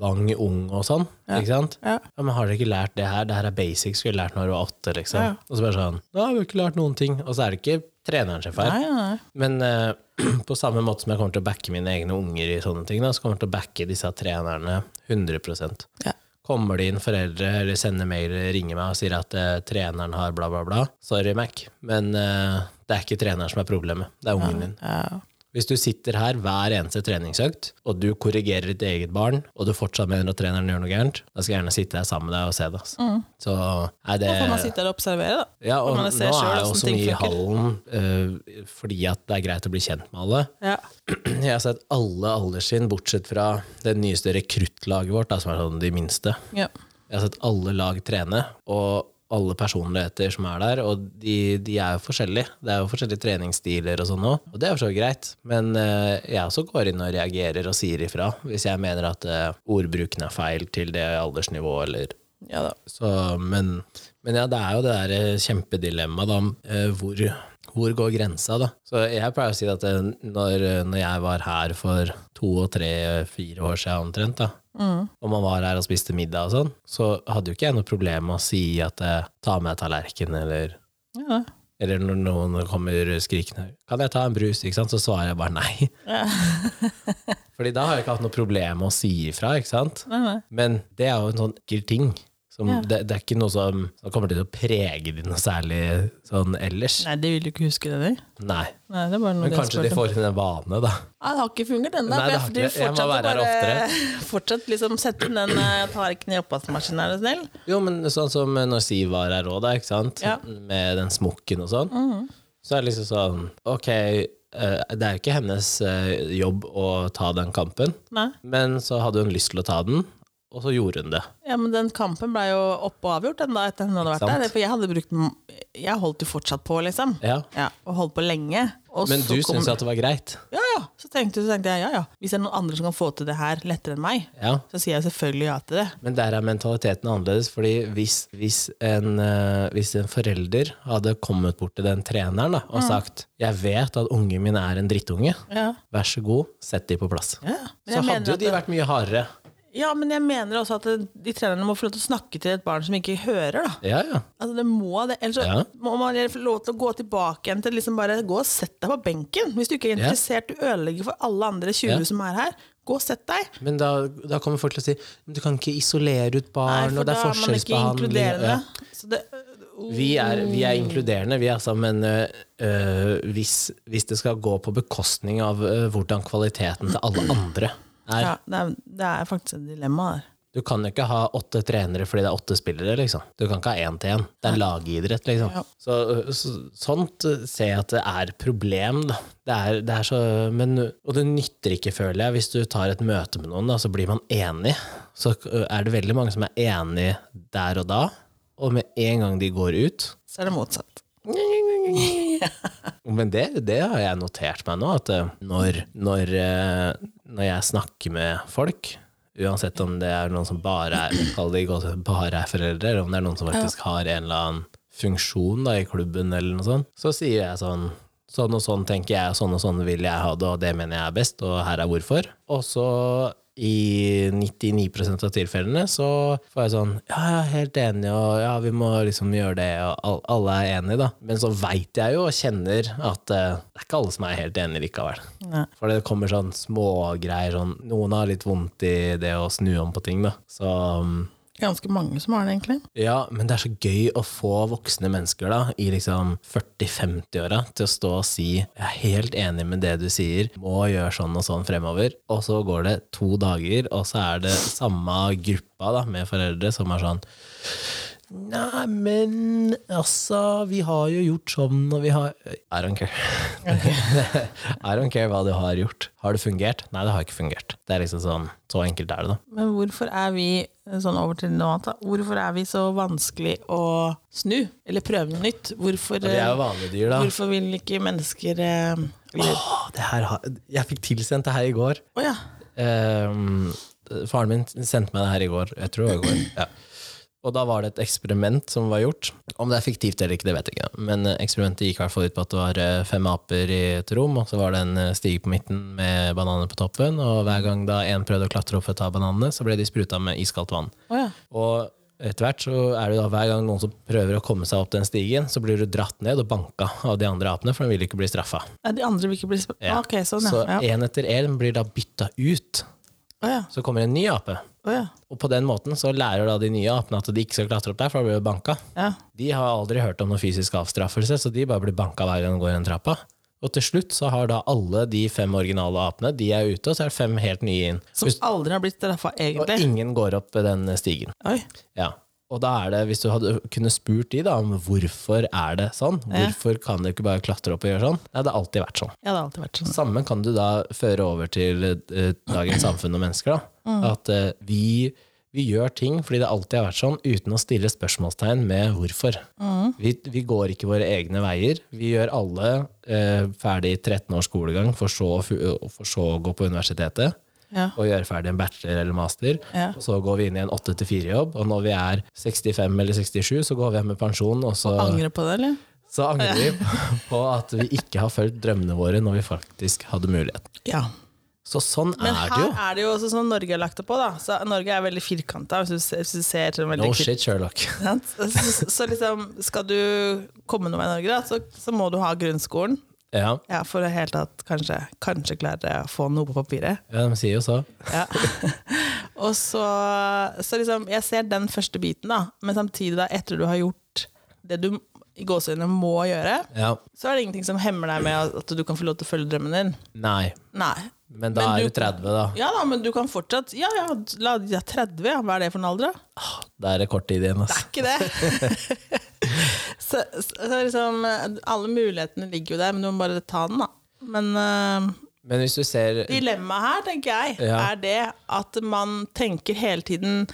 Speaker 1: Vang Ung og sånn. Ikke sant?
Speaker 2: Ja.
Speaker 1: Men har dere ikke lært det her? Det her er basic, skulle lært når du var åtte, liksom.
Speaker 2: Ja.
Speaker 1: Og så bare sånn Da har vi ikke lært noen ting. Og så er det ikke treneren sin feil.
Speaker 2: Nei, nei, nei.
Speaker 1: Men eh, på samme måte som jeg kommer til å backe mine egne unger i sånne ting, da, så kommer jeg til å backe disse trenerne 100
Speaker 2: Ja.
Speaker 1: Kommer det inn foreldre eller sender mail eller ringer meg og sier at eh, treneren har bla, bla, bla, sorry, Mac, men eh, det er ikke treneren som er problemet, det er ungen din.
Speaker 2: Ja.
Speaker 1: Hvis du sitter her hver eneste treningsøkt, og du korrigerer ditt eget barn, og du fortsatt mener at treneren gjør noe gærent, da skal jeg gjerne sitte her sammen med deg og se det. Altså. Så er det
Speaker 2: Mm. Da får man sitte her og observere, da.
Speaker 1: Eh, ja, og
Speaker 2: Får
Speaker 1: nå
Speaker 2: man se
Speaker 1: er
Speaker 2: selv
Speaker 1: jeg
Speaker 2: hvordan
Speaker 1: også
Speaker 2: ting
Speaker 1: mye i
Speaker 2: funker.
Speaker 1: hallen eh, fordi at det er greit å bli kjent med alle.
Speaker 2: Ja.
Speaker 1: Jeg har sett alle alderstrinn, bortsett fra det nyeste rekruttlaget vårt, da, som er sånn de minste.
Speaker 2: Ja.
Speaker 1: Jeg har sett alle lag trene, og alle personligheter som er der. Og de, de er jo forskjellige. Det er jo forskjellige treningsstiler og sånn òg, og det er jo så vidt greit. Men eh, jeg også går inn og reagerer og sier ifra hvis jeg mener at eh, ordbruken er feil til det aldersnivået, eller
Speaker 2: ja da.
Speaker 1: så, men, men ja, det er jo det der eh, kjempedilemmaet da, om, eh, hvor, hvor går grensa da? Så jeg pleier å si at eh, når, eh, når jeg var her for to og tre, eh, fire år siden omtrent da, og man var her og spiste middag og sånn, så hadde jo ikke jeg noe problem med å si at eh, ta med tallerken eller
Speaker 2: Ja, da.
Speaker 1: eller når noen kommer skrikende Kan jeg ta en brus? Ikke sant? Så svarer jeg bare nei. Fordi da har jeg ikke hatt noe problem med å si ifra. Ikke sant?
Speaker 2: Nei, nei.
Speaker 1: Men det er jo en sånn ekkel ting. Som, det, det er ikke noe som, som kommer til å prege de noe særlig sånn ellers.
Speaker 2: nei, det vil du ikke huske, det der.
Speaker 1: Nei.
Speaker 2: Nei, det er bare
Speaker 1: Men
Speaker 2: noe dere
Speaker 1: kanskje
Speaker 2: spurte
Speaker 1: de
Speaker 2: om.
Speaker 1: får inn en vane, da.
Speaker 2: Ja, det har ikke fungert ennå.
Speaker 1: Nei,
Speaker 2: for
Speaker 1: det
Speaker 2: jeg-
Speaker 1: har ikke
Speaker 2: du
Speaker 1: det. Jeg må
Speaker 2: fortsatte
Speaker 1: være her
Speaker 2: bare- Fortsatt liksom sette den eh, 'jeg tar ikke den i oppvaskmaskinen', er du snill?
Speaker 1: Jo, men sånn som når Siv var her òg, da, ikke sant?
Speaker 2: Ja. Mhm.
Speaker 1: Med den smokken og sånn. Så er det liksom sånn Ok, eh, det er jo ikke hennes eh, jobb å ta den kampen.
Speaker 2: Nei.
Speaker 1: Men så hadde hun lyst til å ta den, og så gjorde hun det.
Speaker 2: Ja, men den kampen ble jo oppe og avgjort den da etter hun hadde
Speaker 1: Ikke
Speaker 2: vært der.
Speaker 1: sant?
Speaker 2: For jeg hadde brukt m- Jeg holdt jo fortsatt på, liksom.
Speaker 1: Ja.
Speaker 2: Ja, og holdt på lenge. Og
Speaker 1: Men
Speaker 2: så
Speaker 1: du
Speaker 2: kom-
Speaker 1: syns jo at det var greit.
Speaker 2: Ja, ja. Så tenkte, så tenkte jeg ja, ja. Hvis det er noen andre som kan få til det her lettere enn meg,
Speaker 1: Ja.
Speaker 2: så sier jeg selvfølgelig ja til det.
Speaker 1: Men der er mentaliteten annerledes, fordi hvis, hvis, en, eh, hvis en forelder hadde kommet bort til den treneren da, og
Speaker 2: Mm.
Speaker 1: sagt 'jeg vet at ungen min er en drittunge,
Speaker 2: Ja.
Speaker 1: vær så god, sett de på plass',
Speaker 2: Ja. Men
Speaker 1: så
Speaker 2: jeg mener
Speaker 1: hadde jo
Speaker 2: at
Speaker 1: de
Speaker 2: det-
Speaker 1: vært mye hardere.
Speaker 2: Ja, men jeg mener også at det- de trenerne må få lov til å snakke til et barn som ikke hører, da.
Speaker 1: Ja, ja.
Speaker 2: Altså det må det, ellers så
Speaker 1: Ja.
Speaker 2: må man få lov til å gå tilbake igjen til liksom bare gå og sett deg på benken. Hvis du ikke er
Speaker 1: Ja.
Speaker 2: interessert, du ødelegger for alle andre 20
Speaker 1: Ja.
Speaker 2: som er her. Gå og sett deg.
Speaker 1: Men da, da kommer folk til å si «Men 'du kan ikke isolere ut barn',
Speaker 2: Nei,
Speaker 1: og
Speaker 2: for
Speaker 1: det
Speaker 2: da
Speaker 1: er
Speaker 2: er man ikke
Speaker 1: forskjellsbehandling. og-
Speaker 2: inkluderende.
Speaker 1: Ja.
Speaker 2: Så det, øh,
Speaker 1: Vi er, vi er inkluderende, vi altså, men øh, øh, hvis, hvis det skal gå på bekostning av øh, hvordan kvaliteten til alle andre er
Speaker 2: ja, det, er, det er faktisk et dilemma der.
Speaker 1: Du kan jo ikke ha åtte trenere fordi det er åtte spillere, liksom. Du kan ikke ha én til én. Det er lagidrett, liksom.
Speaker 2: Ja.
Speaker 1: Så, øh, så, sånt øh, ser jeg at det er problem, da. Det er, det er så, men, og det nytter ikke, føler jeg, hvis du tar et møte med noen, da, så blir man enig. Så øh, er det veldig mange som er enig der og da, og med en gang de går ut,
Speaker 2: Så er det motsatt.
Speaker 1: Men det, det har jeg notert meg nå, at eh, når, når, eh, når jeg snakker med folk, uansett om det er noen som bare er, kall det i gåseøyne, bare er foreldre, eller om det er noen som faktisk har en eller annen funksjon da, i klubben, eller noe sånt, så sier jeg sånn Sånn og sånn tenker jeg, og sånn og sånn vil jeg ha det, og det mener jeg er best, og her er hvorfor. Og så i 99 av tilfellene så får jeg sånn Ja, jeg er helt enig, og ja, vi må liksom gjøre det, og all, alle er enige, da. Men så veit jeg jo og kjenner at eh, det er ikke alle som er helt enige likevel.
Speaker 2: Nei.
Speaker 1: For det kommer sånn smågreier sånn Noen har litt vondt i det å snu om på ting, da. Så mm,
Speaker 2: Ganske mange som har det, egentlig.
Speaker 1: ja, men det er så gøy å få voksne mennesker da, i liksom 40-50-åra til å stå og si 'jeg er helt enig med det du sier, må gjøre sånn og sånn fremover', og så går det to dager, og så er det samme gruppa da, med foreldre som er sånn Nei, men altså, vi har jo gjort sånn, og vi har I don't care. I don't care hva du har gjort. Har det fungert? Nei, det har ikke fungert. Det er liksom sånn, Så enkelt er det, da.
Speaker 2: Men hvorfor er vi sånn over til noe annet da? Hvorfor er vi så vanskelig å snu? Eller prøve noe nytt? Hvorfor, øh,
Speaker 1: Vi er jo vanlige dyr, da.
Speaker 2: hvorfor vil ikke mennesker eh, eller-
Speaker 1: Åh, det her har, jeg fikk tilsendt det her i går.
Speaker 2: Å ja.
Speaker 1: Ehm, faren min sendte meg det her i går. Jeg tror det var i går. Ja. Og da var det et eksperiment som var gjort. Om det er fiktivt eller ikke, det vet jeg ikke. Men eh, eksperimentet gikk i hvert fall ut på at det var eh, fem aper i et rom, og så var det en eh, stige på midten med bananer på toppen, og hver gang da en prøvde å klatre opp for å ta bananene, så ble de spruta med iskaldt vann.
Speaker 2: Å ja.
Speaker 1: Og etter hvert så er det da hver gang noen som prøver å komme seg opp den stigen, så blir du dratt ned og banka av de andre apene, for de vil ikke bli straffa.
Speaker 2: Nei, De andre vil ikke bli spurt.
Speaker 1: Ja.
Speaker 2: Ok, sånn,
Speaker 1: Så e-
Speaker 2: ja. ja.
Speaker 1: én etter én blir da bytta ut.
Speaker 2: Å ja.
Speaker 1: Så kommer en ny ape.
Speaker 2: Å ja.
Speaker 1: Og på den måten så lærer da de nye apene at de ikke skal klatre opp der, for da blir de banka.
Speaker 2: ja.
Speaker 1: De har aldri hørt om noen fysisk avstraffelse, så de bare blir banka hver gang de går i den trappa. Og til slutt så har da alle de fem originale apene, de er ute, og så er det fem helt nye inn.
Speaker 2: Som aldri har blitt straffa,
Speaker 1: Og
Speaker 2: egentlig.
Speaker 1: ingen går opp den stigen.
Speaker 2: Oi.
Speaker 1: Ja. Og da er det, hvis du hadde kunne spurt de da om hvorfor er det sånn,
Speaker 2: Ja.
Speaker 1: hvorfor kan du ikke bare klatre opp og gjøre sånn? Nei, det har alltid vært sånn.
Speaker 2: Ja, det har alltid vært sånn.
Speaker 1: Samme kan du da føre over til eh, dagens samfunn og mennesker. Da.
Speaker 2: Mm.
Speaker 1: At eh, vi, vi gjør ting fordi det alltid har vært sånn, uten å stille spørsmålstegn med hvorfor.
Speaker 2: Mm.
Speaker 1: Vi, vi går ikke våre egne veier. Vi gjør alle eh, ferdig 13 års skolegang, for så, å fu- for så å gå på universitetet.
Speaker 2: Ja.
Speaker 1: Og gjøre ferdig en bachelor eller master.
Speaker 2: Ja.
Speaker 1: Og så går vi inn i en 8-4-jobb. Og når vi er 65 eller 67, så går vi av med pensjon. Og så,
Speaker 2: Angrer på det, eller?
Speaker 1: så angrer vi på at vi ikke har fulgt drømmene våre når vi faktisk hadde mulighet.
Speaker 2: Ja.
Speaker 1: Så sånn
Speaker 2: Men
Speaker 1: er det jo.
Speaker 2: her er det jo også sånn Norge har lagt det på, da. Så Norge er veldig firkanta, hvis, du ser- hvis du ser til en veldig
Speaker 1: No
Speaker 2: kri-
Speaker 1: shit, Sherlock.
Speaker 2: sant? Så, så liksom, skal du komme noe med i Norge, da, så, så må du ha grunnskolen.
Speaker 1: Ja,
Speaker 2: Ja, for å helt tatt kanskje, kanskje klare å få noe på papiret.
Speaker 1: ja de sier jo så.
Speaker 2: Ja. Og så, så liksom, jeg ser den første biten, da. Men samtidig, da, etter du har gjort det du i gåseøynene må gjøre,
Speaker 1: Ja.
Speaker 2: så er det ingenting som hemmer deg med at du kan få lov til å følge drømmen din.
Speaker 1: Nei.
Speaker 2: Nei.
Speaker 1: Men da
Speaker 2: Men
Speaker 1: er
Speaker 2: du-
Speaker 1: du 30, da.
Speaker 2: Ja da, men du kan fortsatt Ja ja, la de er 30, ja. Hva er det for en alder, da?
Speaker 1: Ah, Da er det kort tid igjen.
Speaker 2: Det
Speaker 1: Ass.
Speaker 2: er ikke det! så, så, så liksom Alle mulighetene ligger jo der, men du må bare ta den, da. Men øh,
Speaker 1: Men hvis du ser
Speaker 2: dilemmaet her, tenker jeg,
Speaker 1: Ja.
Speaker 2: er det at man tenker hele tiden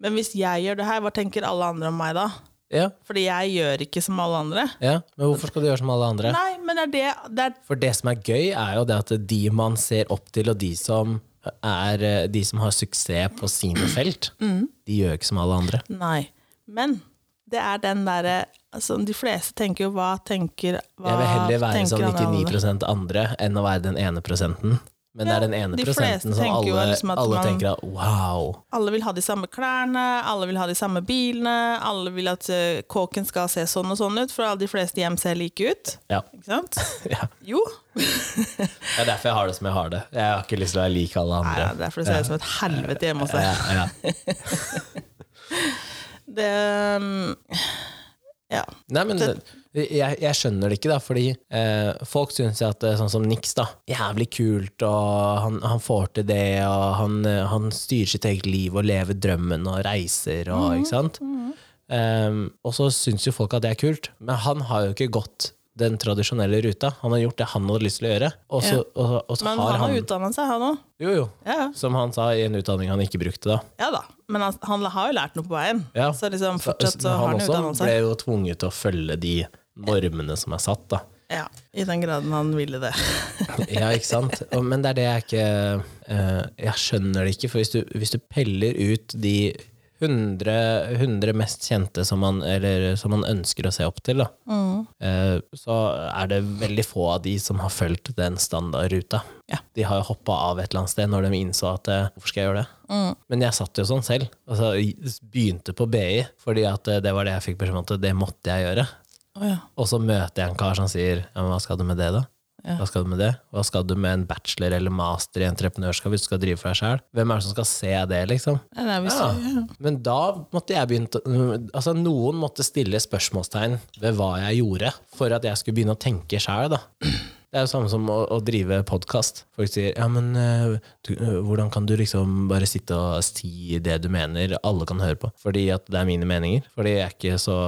Speaker 2: Men hvis jeg gjør det her, hva tenker alle andre om meg da?
Speaker 1: ja,
Speaker 2: Fordi jeg gjør ikke som alle andre.
Speaker 1: ja, men hvorfor skal du gjøre som alle andre?
Speaker 2: Nei, men det er det, det er,
Speaker 1: For det som er gøy, er jo det at de man ser opp til, og de som er eh, De som har suksess på sine felt,
Speaker 2: Mm.
Speaker 1: de gjør ikke som alle andre.
Speaker 2: Nei. Men det er den derre altså, De fleste tenker jo hva tenker hva
Speaker 1: Jeg vil heller være sånn
Speaker 2: tenker
Speaker 1: som
Speaker 2: alle andre?
Speaker 1: 99 andre enn å være den ene prosenten. Men det er den ene
Speaker 2: de
Speaker 1: prosenten
Speaker 2: fleste
Speaker 1: som
Speaker 2: tenker jo
Speaker 1: alle,
Speaker 2: liksom at
Speaker 1: alle
Speaker 2: man-
Speaker 1: tenker at wow.
Speaker 2: Alle vil ha de samme klærne, alle vil ha de samme bilene, alle vil at eh, kåken skal se sånn og sånn ut, for alle de fleste hjem ser like ut.
Speaker 1: Ja.
Speaker 2: Ikke sant?
Speaker 1: ja.
Speaker 2: Jo.
Speaker 1: Det er derfor jeg har det som jeg har det. Jeg har ikke lyst til å være lik alle
Speaker 2: Nei,
Speaker 1: andre.
Speaker 2: det er derfor det ser ut som et helvete hjemme hos deg.
Speaker 1: Ja, ja.
Speaker 2: Det um, Ja.
Speaker 1: Nei, men jeg, jeg skjønner det ikke, da, fordi eh, folk syns jo at det er sånn som Nix, da, jævlig kult, og han, han får til det, og han, eh, han styrer sitt eget liv og lever drømmen og reiser og
Speaker 2: Mhm,
Speaker 1: ikke sant? Eh, og så syns jo folk at det er kult, men han har jo ikke gått den tradisjonelle ruta. Han har gjort det han hadde lyst til å gjøre, og så, og, og så
Speaker 2: Men
Speaker 1: har
Speaker 2: han har
Speaker 1: han
Speaker 2: utdanna seg, han òg.
Speaker 1: Jo, jo.
Speaker 2: Ja, ja.
Speaker 1: Som han sa i en utdanning han ikke brukte, da.
Speaker 2: ja da. Men han, han har jo lært noe på veien.
Speaker 1: Ja.
Speaker 2: Så liksom
Speaker 1: Så-
Speaker 2: fortsatt så
Speaker 1: men
Speaker 2: har
Speaker 1: han
Speaker 2: han
Speaker 1: også
Speaker 2: utdanna
Speaker 1: ble
Speaker 2: seg.
Speaker 1: jo tvunget til å følge de normene som er satt, da.
Speaker 2: Ja, I den graden han ville det.
Speaker 1: Ja, ikke sant? Og- Men det er det jeg ikke eh, Jeg skjønner det ikke, for hvis du, hvis du peller ut de 100, 100 mest kjente som man, eller, som man ønsker å se opp til, da. Eh, så er det veldig få av de som har fulgt den standardruta.
Speaker 2: Ja.
Speaker 1: De har jo hoppa av et eller annet sted når de innså at eh, hvorfor skal jeg gjøre det? Men jeg satt jo sånn selv. Altså, jeg begynte på BI fordi at eh, det var det jeg fikk beskjed om at det måtte jeg gjøre.
Speaker 2: Å ja.
Speaker 1: Og så møter jeg en kar som sier ja, men hva skal du med det, da?
Speaker 2: Ja.
Speaker 1: Hva skal du med det? Hva skal du med en bachelor eller master i entreprenørskap hvis du skal drive for deg sjøl? Hvem er det som skal se det, liksom?
Speaker 2: Nei, det er visst-
Speaker 1: Ja. Men da måtte jeg begynne Altså Noen måtte stille spørsmålstegn ved hva jeg gjorde, for at jeg skulle begynne å tenke sjæl. Det er jo samme som å, å drive podkast. Folk sier ja, men eh, du, eh, hvordan kan du liksom bare sitte og si det du mener, alle kan høre på? Fordi at det er mine meninger. Fordi jeg er ikke så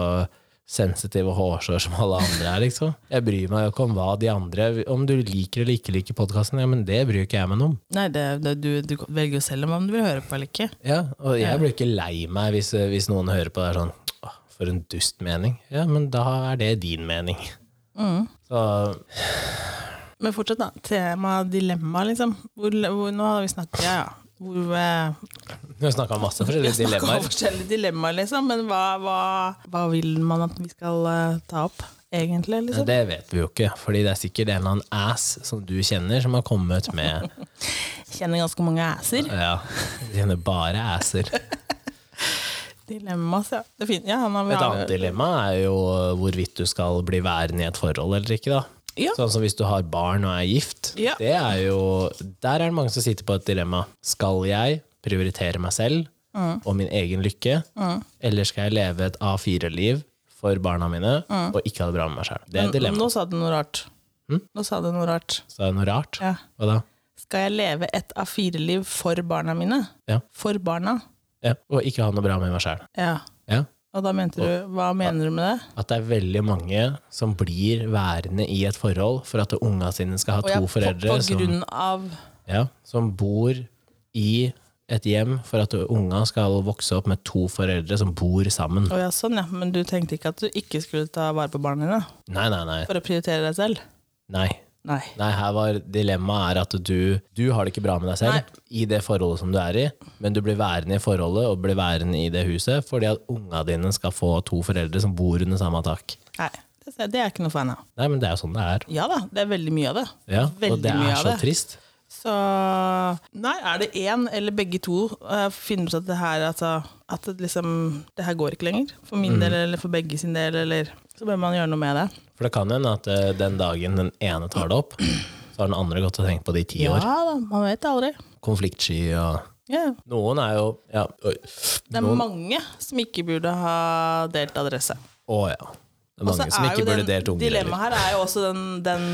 Speaker 1: sensitiv og hårsår som alle andre er, liksom. Jeg bryr meg jo ikke om hva de andre Om du liker eller ikke liker podkasten, ja, men det bryr ikke jeg meg noe om.
Speaker 2: Nei, det, det, du, du velger jo selv om du vil høre på eller ikke.
Speaker 1: Ja, og jeg blir ikke lei meg hvis, eh, hvis noen hører på det er sånn «Åh, For en dust mening. Ja, men da er det din mening. Så
Speaker 2: Men fortsatt, da. Tema dilemma, liksom. Hvor, hvor, nå har vi snakket ja, ja. Hvor, eh,
Speaker 1: vi har snakka om masse forskjellige
Speaker 2: Snakket om
Speaker 1: dilemmaer.
Speaker 2: forskjellige dilemmaer, liksom. Men hva, hva, hva vil man at vi skal eh, ta opp, egentlig?
Speaker 1: Men
Speaker 2: liksom?
Speaker 1: Det vet vi jo ikke, Fordi det er sikkert en eller annen ass som du kjenner, som har kommet med
Speaker 2: Kjenner ganske mange æser.
Speaker 1: Ja, vi kjenner bare asser.
Speaker 2: Dilemmas, ja. Det er fint. Ja, han har
Speaker 1: Et annet dilemma er jo hvorvidt du skal bli værende i et forhold eller ikke. da
Speaker 2: Ja.
Speaker 1: Sånn som hvis du har barn og er gift.
Speaker 2: Ja.
Speaker 1: Det er jo, der er det mange som sitter på et dilemma. Skal jeg prioritere meg selv
Speaker 2: Mm.
Speaker 1: og min egen lykke, eller skal jeg leve et A4-liv for barna mine og ikke ha det bra med meg sjøl? Det er et dilemma. Hm?
Speaker 2: Mm. Nå sa du noe rart. Nå sa du noe rart.
Speaker 1: Så er det noe rart.
Speaker 2: Ja.
Speaker 1: Hva da?
Speaker 2: Skal jeg leve et A4-liv for barna mine?
Speaker 1: Ja.
Speaker 2: For barna?
Speaker 1: Ja. Og ikke ha noe bra med meg sjøl.
Speaker 2: Ja.
Speaker 1: Ja.
Speaker 2: Og da mente du Hva mener du med det?
Speaker 1: At det er veldig mange som blir værende i et forhold for at unga sine skal ha
Speaker 2: Og jeg-
Speaker 1: to foreldre.
Speaker 2: På, på
Speaker 1: som-
Speaker 2: grunn av
Speaker 1: ja, som bor i et hjem for at unga skal vokse opp med to foreldre som bor sammen.
Speaker 2: Å ja, sånn, ja. Men du tenkte ikke at du ikke skulle ta vare på barna dine?
Speaker 1: Nei, nei, nei.
Speaker 2: For å prioritere deg selv?
Speaker 1: Nei,
Speaker 2: Nei.
Speaker 1: nei her var dilemmaet er at du, du har det ikke bra med deg selv i det forholdet som du er i, men du blir værende i forholdet og blir værende i det huset fordi at unga dine skal få to foreldre som bor under samme tak.
Speaker 2: Nei. Det, det er jeg ikke noe fan av.
Speaker 1: Nei, men det er jo sånn det er.
Speaker 2: Ja da, det er veldig mye av det.
Speaker 1: Ja, og
Speaker 2: Veldig
Speaker 1: det
Speaker 2: mye
Speaker 1: er
Speaker 2: av
Speaker 1: så
Speaker 2: det.
Speaker 1: trist.
Speaker 2: Så Nei, er det én eller begge to eh, finner ut at det her altså, At det liksom Det her går ikke lenger. For
Speaker 1: Mm.
Speaker 2: min del eller for begge sin del, eller Så bør man gjøre noe med det.
Speaker 1: For det kan hende at eh, den dagen den ene tar det opp, så har den andre gått og tenkt på det i ti
Speaker 2: Ja
Speaker 1: år.
Speaker 2: da, man vet aldri.
Speaker 1: Konfliktsky og
Speaker 2: Ja.
Speaker 1: Noen er jo ja, Oi.
Speaker 2: Det er mange som ikke burde ha delt adresse.
Speaker 1: Å ja. Det er mange
Speaker 2: Og så
Speaker 1: som
Speaker 2: er jo
Speaker 1: ikke burde
Speaker 2: den-
Speaker 1: delt unger heller.
Speaker 2: Dilemmaet her er jo også den, den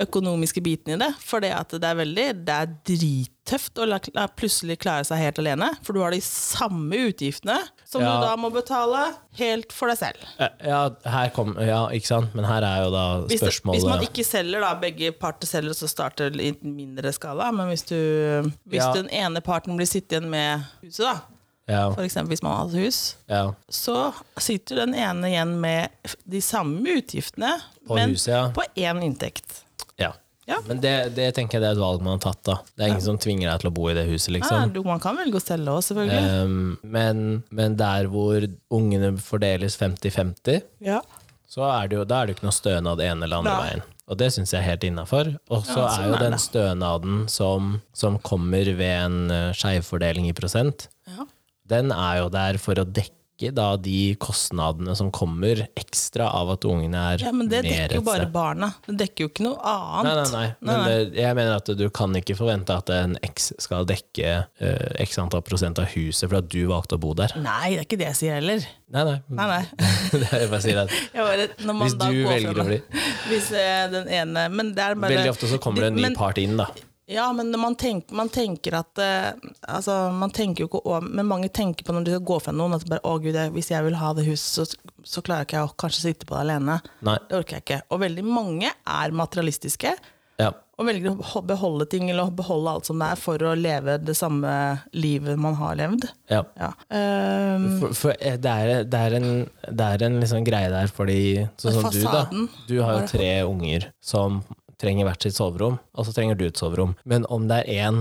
Speaker 2: økonomiske biten i det. For det at det er veldig Det er drittøft å la, la plutselig klare seg helt alene. For du har de samme utgiftene som
Speaker 1: Ja.
Speaker 2: du da må betale helt for deg selv.
Speaker 1: Eh, Ja, her kom, ja, ikke sant? Men her er jo da
Speaker 2: Hvis, det,
Speaker 1: spørsmålet
Speaker 2: hvis man ikke selger, da, begge parter selger, så starter det i en mindre skala. Men hvis, du, hvis
Speaker 1: Ja.
Speaker 2: den ene parten blir sittende igjen med huset, da,
Speaker 1: ja,
Speaker 2: for eksempel hvis man har et hus,
Speaker 1: ja,
Speaker 2: så sitter den ene igjen med de samme utgiftene,
Speaker 1: På
Speaker 2: men
Speaker 1: huset, ja.
Speaker 2: på én inntekt.
Speaker 1: ja.
Speaker 2: Ja.
Speaker 1: Men det, det tenker jeg det er et valg man har tatt, da. Det er ingen som tvinger deg til å bo i det huset,
Speaker 2: Ah, Ja,
Speaker 1: liksom.
Speaker 2: du, man kan velge å selge òg, selvfølgelig.
Speaker 1: Um, men, men der hvor ungene fordeles 50-50,
Speaker 2: Ja.
Speaker 1: så er det jo, da er det jo ikke noe stønad ene eller andre
Speaker 2: Nei.
Speaker 1: veien. Og det syns jeg er helt innafor. Og så
Speaker 2: Ja, sånn
Speaker 1: er jo
Speaker 2: er
Speaker 1: den
Speaker 2: det.
Speaker 1: stønaden som, som kommer ved en eh, skjevfordeling i prosent,
Speaker 2: Ja.
Speaker 1: den er jo der for å dekke da de kostnadene som kommer ekstra av at ungene er
Speaker 2: men det
Speaker 1: mer
Speaker 2: dekker jo
Speaker 1: et
Speaker 2: bare
Speaker 1: sted.
Speaker 2: barna. Det dekker jo ikke noe
Speaker 1: Nei, nei,
Speaker 2: annet.
Speaker 1: nei. Men det- jeg mener at du kan ikke forvente at en X skal dekke eh, x antall prosent av huset for at du valgte å bo der.
Speaker 2: Nei, det er ikke det jeg sier heller.
Speaker 1: Nei, nei.
Speaker 2: Nei, nei.
Speaker 1: det er jeg bare sier at
Speaker 2: Jeg bare, når man
Speaker 1: Hvis
Speaker 2: da
Speaker 1: du
Speaker 2: går
Speaker 1: velger
Speaker 2: fra-
Speaker 1: å bli-
Speaker 2: Hvis eh, den ene Men det er bare
Speaker 1: Veldig ofte så kommer det en ny
Speaker 2: Men-
Speaker 1: part inn, da.
Speaker 2: Ja, men når man, tenk, man tenker at eh, altså, man tenker jo ikke over, Men mange tenker på når de skal gå fra noen at bare, å gud, jeg, hvis jeg vil ha det huset, så, så klarer ikke jeg å kanskje sitte på det alene.
Speaker 1: Nei.
Speaker 2: Det orker jeg ikke. Og veldig mange er materialistiske
Speaker 1: Ja.
Speaker 2: og velger å ho- beholde ting eller å beholde alt som det er, for å leve det samme livet man har levd.
Speaker 1: ja.
Speaker 2: Ja. Ehm,
Speaker 1: For, for eh, det, er, det, er en, det er en liksom greie der, fordi sånn som du, da.
Speaker 2: Fasaden.
Speaker 1: Du har jo tre unger som trenger hvert sitt soverom, og så trenger du et soverom. Men om det er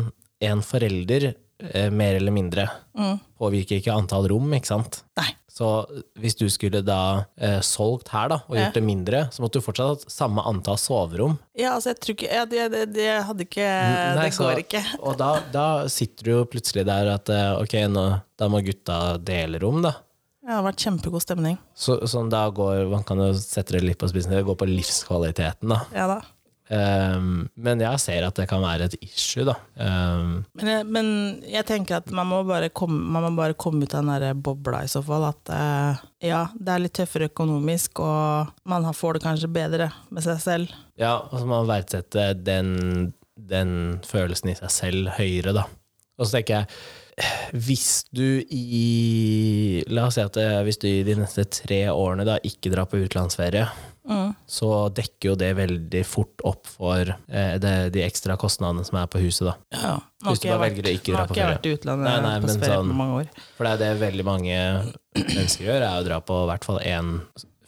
Speaker 1: én forelder eh, mer eller mindre, påvirker ikke antall rom, ikke sant?
Speaker 2: Mm. Nei.
Speaker 1: Så hvis du skulle da eh, solgt her da, og
Speaker 2: Ja.
Speaker 1: gjort det mindre, så måtte du fortsatt ha hatt samme antall soverom.
Speaker 2: Ja, altså, jeg tror ikke ja, det, det, det hadde ikke
Speaker 1: Nei,
Speaker 2: Eh, Det
Speaker 1: så-
Speaker 2: går ikke.
Speaker 1: Og da, da sitter du jo plutselig der at eh, ok, nå, da må gutta dele rom, da.
Speaker 2: Ja, det har vært kjempegod stemning.
Speaker 1: Så, sånn da går, Man kan jo sette det litt på spissen, det går på livskvaliteten, da.
Speaker 2: Ja da.
Speaker 1: Ehm, men jeg ser at det kan være et issue, da. Ehm,
Speaker 2: Men, jeg- men jeg tenker at man må bare komme, man må bare komme ut av den der bobla i så fall. At eh, ja, det er litt tøffere økonomisk, og man har- får det kanskje bedre med seg selv.
Speaker 1: ja, og så må man verdsette den, den følelsen i seg selv høyere, da. Og så tenker jeg, hvis du i La oss si at eh, hvis du i de neste tre årene da ikke drar på utenlandsferie,
Speaker 2: Mm.
Speaker 1: så dekker jo det veldig fort opp for eh, det, de ekstra kostnadene som er på huset, da.
Speaker 2: Ja. Nå
Speaker 1: Hvis du
Speaker 2: har
Speaker 1: bare
Speaker 2: jeg
Speaker 1: velger å ikke
Speaker 2: nå
Speaker 1: dra
Speaker 2: har
Speaker 1: på
Speaker 2: ikke jeg
Speaker 1: ferie.
Speaker 2: vært i utlandet
Speaker 1: Nei, nei,
Speaker 2: på
Speaker 1: men
Speaker 2: ferie
Speaker 1: sånn-
Speaker 2: på mange år.
Speaker 1: For det er det veldig mange mennesker gjør, er å dra på i hvert fall én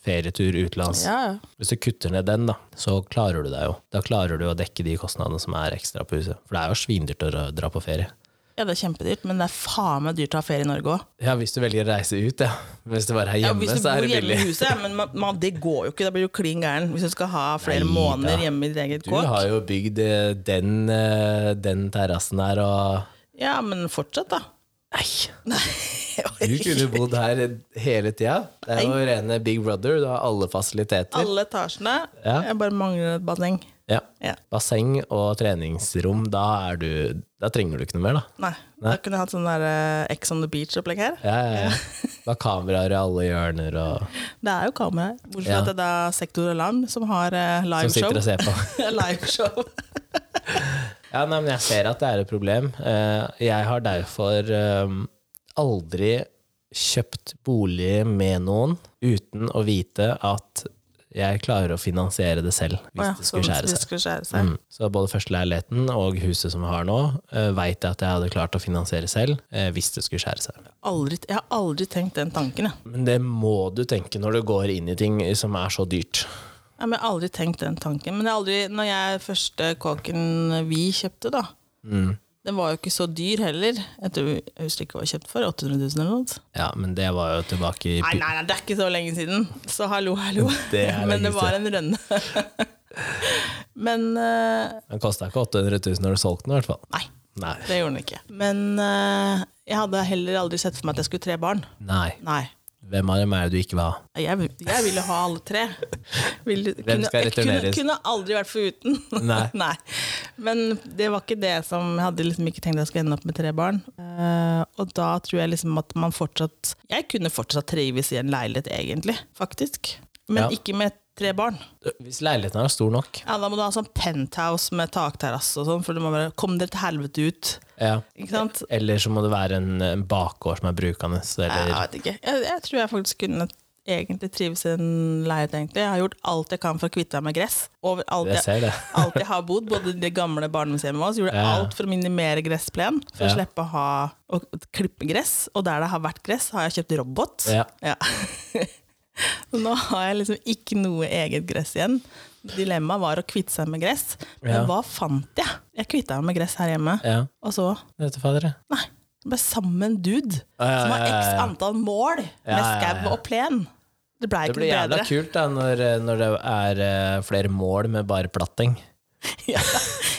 Speaker 1: ferietur utenlands.
Speaker 2: Ja, ja.
Speaker 1: Hvis du kutter ned den, da, så klarer du deg jo. Da klarer du å dekke de kostnadene som er ekstra på huset. For det er jo svindyrt å dra- dra på ferie.
Speaker 2: ja, det er kjempedyrt, men det er faen meg dyrt å ha ferie i Norge òg.
Speaker 1: Ja, hvis du velger å reise ut, ja. Men hvis du bare er
Speaker 2: Ja,
Speaker 1: hjemme,
Speaker 2: hvis du
Speaker 1: så
Speaker 2: bor
Speaker 1: er det
Speaker 2: hjemme
Speaker 1: billig.
Speaker 2: i huset, ja, men man, man, det går jo ikke. Da blir du klin gæren hvis du skal ha flere
Speaker 1: Neida.
Speaker 2: måneder hjemme i ditt eget
Speaker 1: Du
Speaker 2: kåk.
Speaker 1: har jo bygd eh, den, eh, den terrassen her, og
Speaker 2: Ja, men fortsatt, da.
Speaker 1: Nei! Du kunne bodd her hele tida. Det er jo rene Big Brother. Du har alle fasiliteter.
Speaker 2: Alle etasjene.
Speaker 1: Ja.
Speaker 2: Jeg bare mangler et basseng.
Speaker 1: Ja.
Speaker 2: Ja.
Speaker 1: Basseng og treningsrom, da, er du, da trenger du ikke noe mer, da.
Speaker 2: Nei. Da kunne jeg hatt sånn der eh, Ex on the beach-opplegg her.
Speaker 1: Ja, ja, ja. Du har kameraer i alle hjørner og
Speaker 2: Det er jo kamera her. Bortsett fra
Speaker 1: Ja.
Speaker 2: at det er Sektor Alarm som har eh,
Speaker 1: som sitter
Speaker 2: liveshow.
Speaker 1: og ser på.
Speaker 2: liveshow.
Speaker 1: Ja, nei, men jeg ser at det er et problem. Eh, Jeg har derfor eh, aldri kjøpt bolig med noen uten å vite at jeg klarer å finansiere det selv hvis
Speaker 2: Å ja,
Speaker 1: det
Speaker 2: som
Speaker 1: skulle skjære
Speaker 2: hvis det
Speaker 1: seg.
Speaker 2: skulle skjære seg.
Speaker 1: Mm. Så både førsteleiligheten og huset som jeg har nå, veit jeg at jeg hadde klart å finansiere selv eh, hvis det skulle skjære seg.
Speaker 2: Aldri, jeg har aldri tenkt den tanken, jeg.
Speaker 1: Men det må du tenke når du går inn i ting som er så dyrt.
Speaker 2: Ja, men jeg har aldri tenkt den tanken. Men jeg har aldri, når jeg første kåken vi kjøpte, da
Speaker 1: Mm.
Speaker 2: Den var jo ikke så dyr heller. Jeg, tror, jeg husker ikke hva jeg kjøpte for. 800 000 eller noe?
Speaker 1: Ja, men det var jo tilbake i
Speaker 2: Nei, nei, nei, det er ikke så lenge siden. Så hallo, hallo.
Speaker 1: Det er
Speaker 2: Men det
Speaker 1: lenge
Speaker 2: var en rønne. Men eh,
Speaker 1: Den kosta ikke 800 000 når du solgte den, i hvert fall.
Speaker 2: Nei,
Speaker 1: Nei.
Speaker 2: det gjorde den ikke. Men eh, jeg hadde heller aldri sett for meg at jeg skulle tre barn.
Speaker 1: Nei.
Speaker 2: Nei.
Speaker 1: Hvem av dem er det du ikke vil ha?
Speaker 2: Jeg, jeg ville ha alle tre. Ville,
Speaker 1: skal
Speaker 2: jeg kunne,
Speaker 1: returneres?
Speaker 2: kunne aldri vært foruten.
Speaker 1: Nei.
Speaker 2: Men det var ikke det som Jeg hadde liksom ikke tenkt jeg skulle ende opp med tre barn. Eh, og da tror jeg liksom at man fortsatt Jeg kunne fortsatt trives i en leilighet, egentlig. Faktisk. Men
Speaker 1: Ja.
Speaker 2: ikke med tre barn.
Speaker 1: Hvis leiligheten er stor nok.
Speaker 2: Ja, Da må du ha sånn penthouse med takterrasse og sånn, for du må bare Kom dere til helvete ut.
Speaker 1: Ja.
Speaker 2: Ikke sant?
Speaker 1: Eller så må det være en, en bakgård som er brukende.
Speaker 2: Jeg
Speaker 1: Eller,
Speaker 2: vet ikke. Jeg, jeg tror jeg faktisk kunne egentlig trives i en leilighet, egentlig. Jeg har gjort alt jeg kan for å kvitte meg med gress. Over alt
Speaker 1: jeg
Speaker 2: jeg,
Speaker 1: ser det.
Speaker 2: alt jeg har bodd, både i det gamle barndomshjemmet vårt, gjorde
Speaker 1: Ja.
Speaker 2: alt for å minimere gressplen. For å
Speaker 1: Ja.
Speaker 2: slippe å, ha, å klippe gress. Og der det har vært gress, har jeg kjøpt robot.
Speaker 1: Ja.
Speaker 2: Ja. Så Nå har jeg liksom ikke noe eget gress igjen. Dilemmaet var å kvitte seg med gress. Men
Speaker 1: Ja.
Speaker 2: hva fant jeg? Jeg kvitta meg med gress her hjemme.
Speaker 1: ja.
Speaker 2: Og så
Speaker 1: Vet du fader, jeg.
Speaker 2: Nei. Det ble sammen dude
Speaker 1: Ja, ja,
Speaker 2: som har
Speaker 1: ja, ja,
Speaker 2: x
Speaker 1: ja.
Speaker 2: antall mål
Speaker 1: Ja,
Speaker 2: med
Speaker 1: ja, ja.
Speaker 2: skau og plen. Det blei
Speaker 1: Det
Speaker 2: ikke
Speaker 1: blir
Speaker 2: noe
Speaker 1: jævla
Speaker 2: bedre.
Speaker 1: kult da, når, når det er eh, flere mål med bare platting.
Speaker 2: Ja.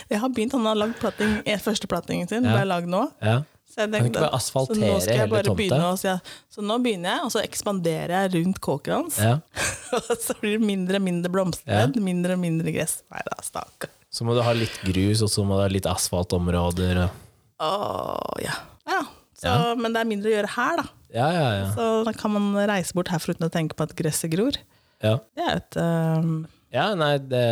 Speaker 2: Jeg har begynt, Han har lagd platting, eh, første plattingen sin,
Speaker 1: Ja.
Speaker 2: ble lagd nå.
Speaker 1: Ja.
Speaker 2: Så, jeg
Speaker 1: Kan ikke bare asfaltere
Speaker 2: så nå skal jeg
Speaker 1: hele
Speaker 2: bare
Speaker 1: tomta?
Speaker 2: begynne å si, ja. Så nå begynner jeg, og så ekspanderer jeg rundt kåken hans.
Speaker 1: Ja.
Speaker 2: Og så blir det mindre og mindre blomsterbed, mindre og mindre gress. Nei da, stakkar.
Speaker 1: Så må du ha litt grus, og så må du ha litt asfaltområder. og-
Speaker 2: Åh, ja. Ja, så, Men det er mindre å gjøre her, da.
Speaker 1: Ja, ja, ja.
Speaker 2: Så da kan man reise bort herfra uten å tenke på at gresset gror.
Speaker 1: ja.
Speaker 2: Det er jo et eh,
Speaker 1: Ja, nei, det,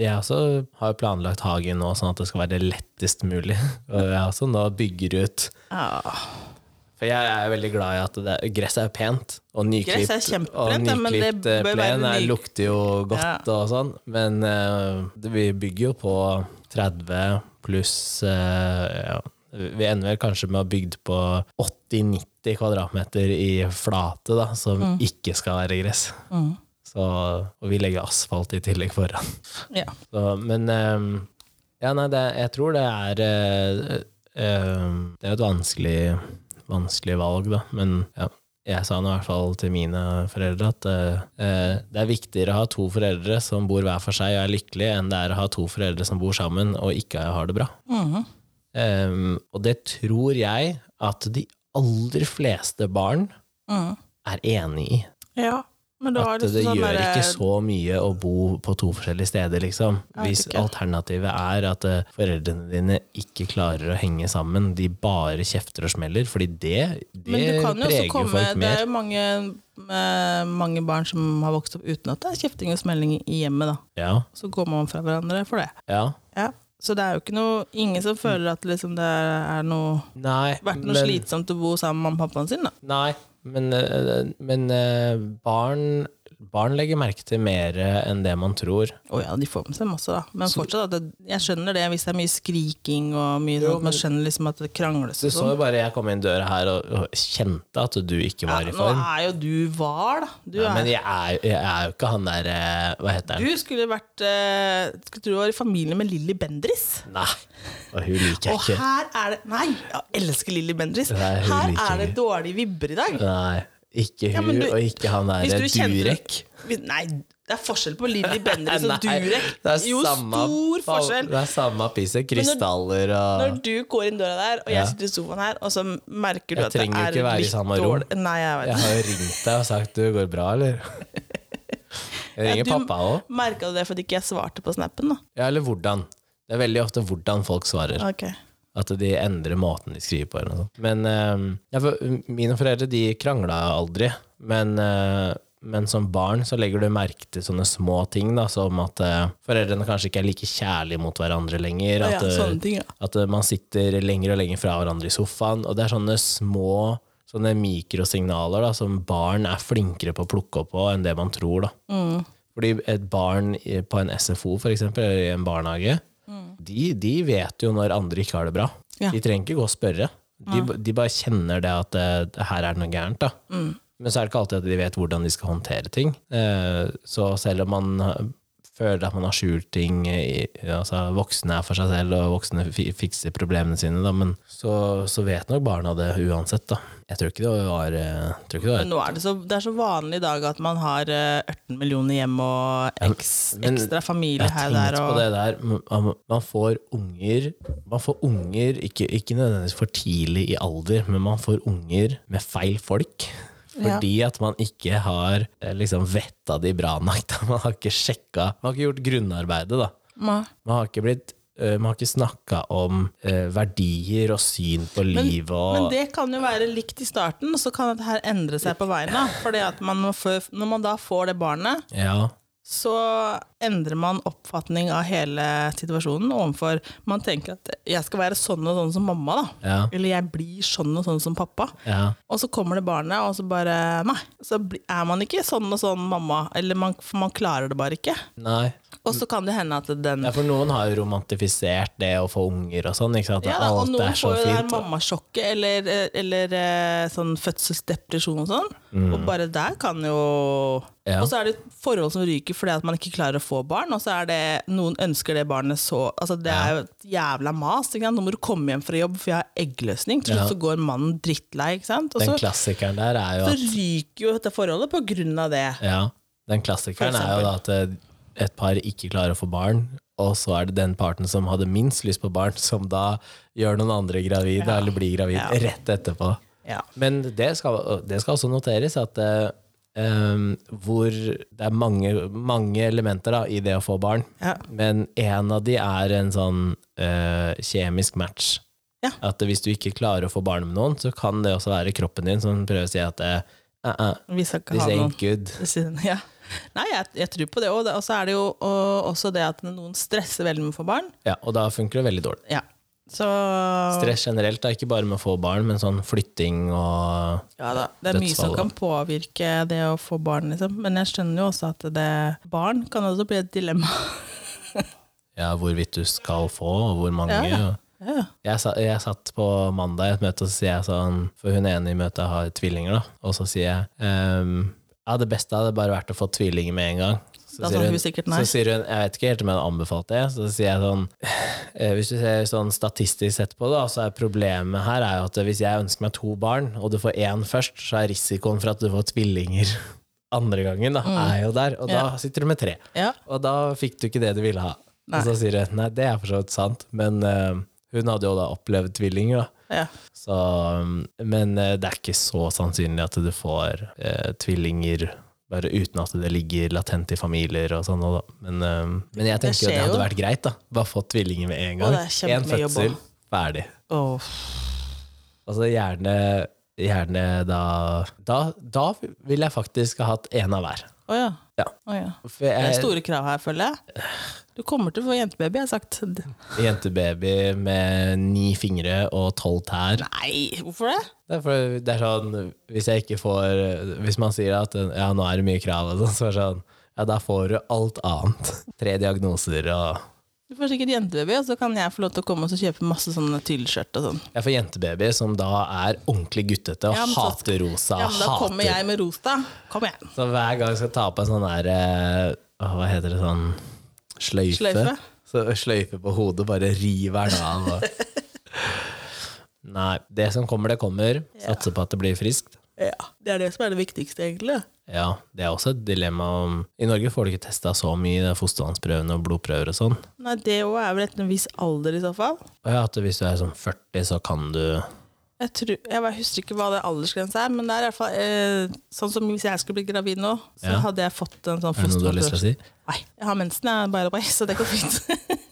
Speaker 1: jeg også har jo planlagt hagen nå, sånn at det skal være det lettest mulig. Og jeg også nå bygger ut.
Speaker 2: ja.
Speaker 1: For jeg er veldig glad i at det, gresset er pent, og nyklipt,
Speaker 2: Gress er kjempepent,
Speaker 1: og
Speaker 2: ja, men det
Speaker 1: nyklipt eh,
Speaker 2: bør være
Speaker 1: plen er,
Speaker 2: ny-
Speaker 1: lukter jo godt og sånn. Men eh, det- vi bygger jo på 30 pluss eh, ja, Vi ender vel kanskje med å ha bygd på 80-90 kvadratmeter i flate, da, som
Speaker 2: Mm.
Speaker 1: ikke skal være gress. Så, og vi legger asfalt i tillegg foran.
Speaker 2: Ja.
Speaker 1: ehm, Så, men eh, ja, nei, det, jeg tror det er eh, Eh, Det er jo et vanskelig, vanskelig valg, da. Men ja, jeg sa nå i hvert fall til mine foreldre at eh, det er viktigere å ha to foreldre som bor hver for seg og er lykkelige, enn det er å ha to foreldre som bor sammen og ikke har det bra.
Speaker 2: Mm.
Speaker 1: Eh, og det tror jeg at de aller fleste barn er enig i.
Speaker 2: Mm. Ja, men da
Speaker 1: At
Speaker 2: er det,
Speaker 1: det
Speaker 2: sånn
Speaker 1: gjør
Speaker 2: der-
Speaker 1: ikke så mye å bo på to forskjellige steder, liksom.
Speaker 2: Jeg vet
Speaker 1: Hvis
Speaker 2: ikke.
Speaker 1: alternativet er at eh, foreldrene dine ikke klarer å henge sammen, de bare kjefter og smeller, fordi det, det
Speaker 2: eh, Men du kan jo også
Speaker 1: preger jo
Speaker 2: komme
Speaker 1: folk
Speaker 2: Det er
Speaker 1: mer.
Speaker 2: jo mange, eh, mange barn som har vokst opp uten at det er kjefting og smelling i hjemmet, da.
Speaker 1: Ja,
Speaker 2: Så går man fra hverandre for det.
Speaker 1: ja.
Speaker 2: Ja. Så det er jo ikke noe Ingen som føler at liksom det er noe
Speaker 1: Nei,
Speaker 2: vært noe
Speaker 1: men,
Speaker 2: slitsomt å bo sammen med mamma og pappaen sin, da.
Speaker 1: nei, men, eh, men eh, barn, barn legger merke til mer eh, enn det man tror.
Speaker 2: Å ja, de får med seg masse, da. Men fortsatt, at det, jeg skjønner det hvis det er mye skriking og mye sånn. at Man skjønner liksom at det krangles
Speaker 1: Du
Speaker 2: og
Speaker 1: så
Speaker 2: sånn.
Speaker 1: jo bare jeg kom inn døra her og, og kjente at du ikke
Speaker 2: Ja,
Speaker 1: var i
Speaker 2: nå
Speaker 1: form.
Speaker 2: er jo du var, da. Du,
Speaker 1: Ja, men
Speaker 2: er,
Speaker 1: jeg er, jeg er jo ikke han der eh, Hva heter han?
Speaker 2: du skulle vært eh, Skulle tro du var i familie med Lilly Bendriss.
Speaker 1: Nei, og hun liker
Speaker 2: Og
Speaker 1: jeg ikke.
Speaker 2: her er det Nei, jeg elsker Lilly Bendriss.
Speaker 1: Nei, hun
Speaker 2: Her
Speaker 1: liker
Speaker 2: er det
Speaker 1: ikke.
Speaker 2: dårlige vibber i dag.
Speaker 1: Nei, ikke
Speaker 2: Ja,
Speaker 1: hun
Speaker 2: men du-
Speaker 1: og ikke han
Speaker 2: Hvis
Speaker 1: der
Speaker 2: du kjenner-
Speaker 1: Durek.
Speaker 2: Hvis- Nei, det er forskjell på Lilly Bendriss og
Speaker 1: Nei,
Speaker 2: Durek.
Speaker 1: det er
Speaker 2: Jo,
Speaker 1: samme-
Speaker 2: stor forskjell.
Speaker 1: Det er samme pisse. Krystaller og
Speaker 2: Når du går inn døra der, og
Speaker 1: Ja.
Speaker 2: jeg sitter i sofaen her, og så merker du
Speaker 1: Jeg
Speaker 2: at det er litt
Speaker 1: trenger
Speaker 2: dårlig
Speaker 1: ikke være i samme rom.
Speaker 2: Nei, jeg vet
Speaker 1: Jeg
Speaker 2: ikke.
Speaker 1: har jo ringt deg og sagt du, går det bra, eller? Jeg ringer
Speaker 2: Ja, du-
Speaker 1: pappa òg.
Speaker 2: Merka du det fordi ikke jeg svarte på snappen, da?
Speaker 1: Ja, eller hvordan. Det er veldig ofte hvordan folk svarer.
Speaker 2: Ok.
Speaker 1: At de endrer måten de skriver på. Eller noe. sånt. Men eh, ja, for mine foreldre de krangla aldri. Men, eh, men som barn så legger du merke til sånne små ting, da, som at eh, foreldrene kanskje ikke er like kjærlige mot hverandre lenger.
Speaker 2: Ja, sånn.
Speaker 1: At, eh,
Speaker 2: sånne ting, ja.
Speaker 1: at eh, man sitter lenger og lenger fra hverandre i sofaen. Og det er sånne små sånne mikrosignaler da, som barn er flinkere på å plukke opp på enn det man tror. da. Fordi et barn i- på en SFO, for eksempel, eller i en barnehage, de, de vet jo når andre ikke har det bra.
Speaker 2: Ja.
Speaker 1: De trenger ikke gå og spørre. De, de bare kjenner det at eh, her er det noe gærent. da. Men så er det ikke alltid at de vet hvordan de skal håndtere ting. Eh, Så selv om man eh, føler at man har skjult ting eh, i- altså Voksne er for seg selv, og voksne fi- fikser problemene sine, da, men så, så vet nok barna det uansett. da. Jeg tror ikke det var, eh, tror ikke det var
Speaker 2: Men nå er det, så, det er så vanlig i dag at man har eh, 18 millioner hjem og eks,
Speaker 1: men-
Speaker 2: ekstra familie
Speaker 1: Jeg
Speaker 2: her
Speaker 1: har tenkt
Speaker 2: og der.
Speaker 1: på
Speaker 2: Og,
Speaker 1: det der. Man- Man får unger, man får unger ikke, ikke nødvendigvis for tidlig i alder, men man får unger med feil folk.
Speaker 2: Ja.
Speaker 1: Fordi at man ikke har eh, liksom vetta de bra nok. Da. Man har ikke sjekka Man har ikke gjort grunnarbeidet, da.
Speaker 2: Nei.
Speaker 1: Man har ikke blitt eh, man har ikke snakka om eh, verdier og syn på livet og
Speaker 2: Men det kan jo være likt i starten, så kan dette her endre seg på veien. da. Fordi at man må få, Når man da får det barnet,
Speaker 1: Ja.
Speaker 2: så endrer man oppfatning av hele situasjonen overfor Man tenker at 'jeg skal være sånn og sånn som mamma', da.
Speaker 1: Ja.
Speaker 2: Eller 'jeg blir sånn og sånn som pappa'.
Speaker 1: ja.
Speaker 2: Og så kommer det barnet, og så bare Nei, så bli- er man ikke sånn og sånn mamma. Eller man, for man klarer det bare ikke.
Speaker 1: Nei.
Speaker 2: Og så kan det hende at den
Speaker 1: Ja, for noen har jo romantifisert det å få unger og sånn. ikke sant?
Speaker 2: ja,
Speaker 1: At
Speaker 2: da, og
Speaker 1: alt
Speaker 2: noen
Speaker 1: er så
Speaker 2: får jo det her
Speaker 1: fint. og-
Speaker 2: mammasjokket eller, eller eh, sånn fødselsdepresjon og sånn. Og bare der kan jo
Speaker 1: Mm. Ja.
Speaker 2: Og så er det forhold som ryker fordi at man ikke klarer å få barn, og så er det noen ønsker det barnet så altså Det er jo et jævla mas. Ikke sant? Nå må du komme hjem fra jobb, for jeg har eggløsning. Til
Speaker 1: Ja.
Speaker 2: slutt så går mannen drittlei, ikke sant. Og
Speaker 1: Den
Speaker 2: så,
Speaker 1: klassikeren der er jo
Speaker 2: så
Speaker 1: at
Speaker 2: ryker jo dette forholdet på grunn av det.
Speaker 1: ja, Den klassikeren
Speaker 2: For
Speaker 1: er jo da at eh, et par ikke klarer å få barn, og så er det den parten som hadde minst lyst på barn, som da gjør noen andre gravid, eller blir gravid
Speaker 2: Ja.
Speaker 1: rett etterpå.
Speaker 2: Ja.
Speaker 1: Men det skal, det skal også noteres at eh, em, hvor det er mange, mange elementer da, i det å få barn,
Speaker 2: Ja.
Speaker 1: men en av de er en sånn eh, kjemisk match.
Speaker 2: Ja.
Speaker 1: At hvis du ikke klarer å få barn med noen, så kan det også være kroppen din som prøver å si at eh, eh, eh,
Speaker 2: Vi skal ikke
Speaker 1: this
Speaker 2: ha noen
Speaker 1: ain't good.
Speaker 2: siden, ja. Nei, jeg, jeg tror på det òg. Og så er det jo og, også det at noen stresser veldig med å få barn.
Speaker 1: Ja, og da funker det veldig dårlig.
Speaker 2: Ja. Så
Speaker 1: Stress generelt er ikke bare med å få barn, men sånn flytting og
Speaker 2: ja da, Det er mye som
Speaker 1: Dødsfall,
Speaker 2: kan påvirke det å få barn, liksom. Men jeg skjønner jo også at det, barn kan også bli et dilemma.
Speaker 1: ja, hvorvidt du skal få, og hvor mange.
Speaker 2: Ja. Ja.
Speaker 1: Jeg, sa, jeg satt på mandag i et møte, og så sier jeg sånn For hun ene i møtet har tvillinger, da. Og så sier jeg ehm, ja, det beste hadde bare vært å få tvillinger med en gang. Så Så
Speaker 2: Da
Speaker 1: sier
Speaker 2: sa
Speaker 1: hun-
Speaker 2: hun sikkert nei.
Speaker 1: Så sier hun, jeg vet ikke helt om jeg hadde anbefalt det, så sier jeg sånn, eh, hvis du ser sånn statistisk sett på det, da, så er problemet her er jo at hvis jeg ønsker meg to barn, og du får én først, så er risikoen for at du får tvillinger andre gangen, da,
Speaker 2: Mm.
Speaker 1: er jo der, og da sitter du med tre.
Speaker 2: Ja.
Speaker 1: Og da fikk du ikke det du ville ha.
Speaker 2: Nei.
Speaker 1: Og så sier hun, nei, det er for så vidt sant, men eh, hun hadde jo da opplevd tvillinger, da.
Speaker 2: Ja.
Speaker 1: Så, um, men eh, det er ikke så sannsynlig at du får eh, tvillinger bare uten at det ligger latent i familier og sånn. og da. Men, um, men jeg
Speaker 2: Det
Speaker 1: tenker jo det
Speaker 2: skjer
Speaker 1: hadde
Speaker 2: jo.
Speaker 1: vært greit. da. Bare fått tvillinger med en
Speaker 2: Og
Speaker 1: gang.
Speaker 2: det er
Speaker 1: Én
Speaker 2: kjempemye jobb
Speaker 1: fødsel,
Speaker 2: også.
Speaker 1: ferdig.
Speaker 2: Åh.
Speaker 1: Altså gjerne, gjerne da, da Da ville jeg faktisk ha hatt én av hver.
Speaker 2: Å ja.
Speaker 1: Ja.
Speaker 2: Å ja.
Speaker 1: For
Speaker 2: Det er
Speaker 1: jeg,
Speaker 2: store krav her, føler jeg. Du kommer til å få jentebaby, har jeg sagt.
Speaker 1: jentebaby med ni fingre og tolv tær.
Speaker 2: Nei, hvorfor det?
Speaker 1: Det er, for, det er sånn, hvis jeg ikke får Hvis man sier at ja, nå er det mye krav, og sånn, så er det sånn Ja, da får du alt annet. Tre diagnoser og
Speaker 2: Du får sikkert jentebaby, og så kan jeg få lov til å komme og så kjøpe masse sånne tyllskjørt og sånn.
Speaker 1: Jeg får jentebaby som da er ordentlig guttete og
Speaker 2: Ja, men så-
Speaker 1: hater rosa.
Speaker 2: Ja, men da
Speaker 1: Ah, hater.
Speaker 2: kommer jeg med ros, da. Kom igjen.
Speaker 1: Så hver gang jeg skal ta på en sånn der eh, Hva heter det sånn Sløyfe.
Speaker 2: Sløyfe?
Speaker 1: Så sløyfe på hodet, bare river den av. Og. Nei. Det som kommer, det kommer. Satser på at det blir friskt.
Speaker 2: Ja, Det er det som er det viktigste, egentlig.
Speaker 1: Ja, det er også et dilemma om I Norge får du ikke testa så mye det er fostervannsprøvene og blodprøver og sånn.
Speaker 2: Nei, det òg er vel etter en viss alder, i så fall.
Speaker 1: Og ja, at hvis du er sånn 40, så kan du
Speaker 2: Jeg, tror, jeg bare husker ikke hva det aldersgrensa er, men det er i hvert fall eh, sånn som hvis jeg skulle bli gravid nå, så
Speaker 1: Ja.
Speaker 2: hadde jeg fått en sånn
Speaker 1: Er det noe du har lyst til å si?
Speaker 2: Nei, jeg har mensen, jeg, by the way, så det går fint.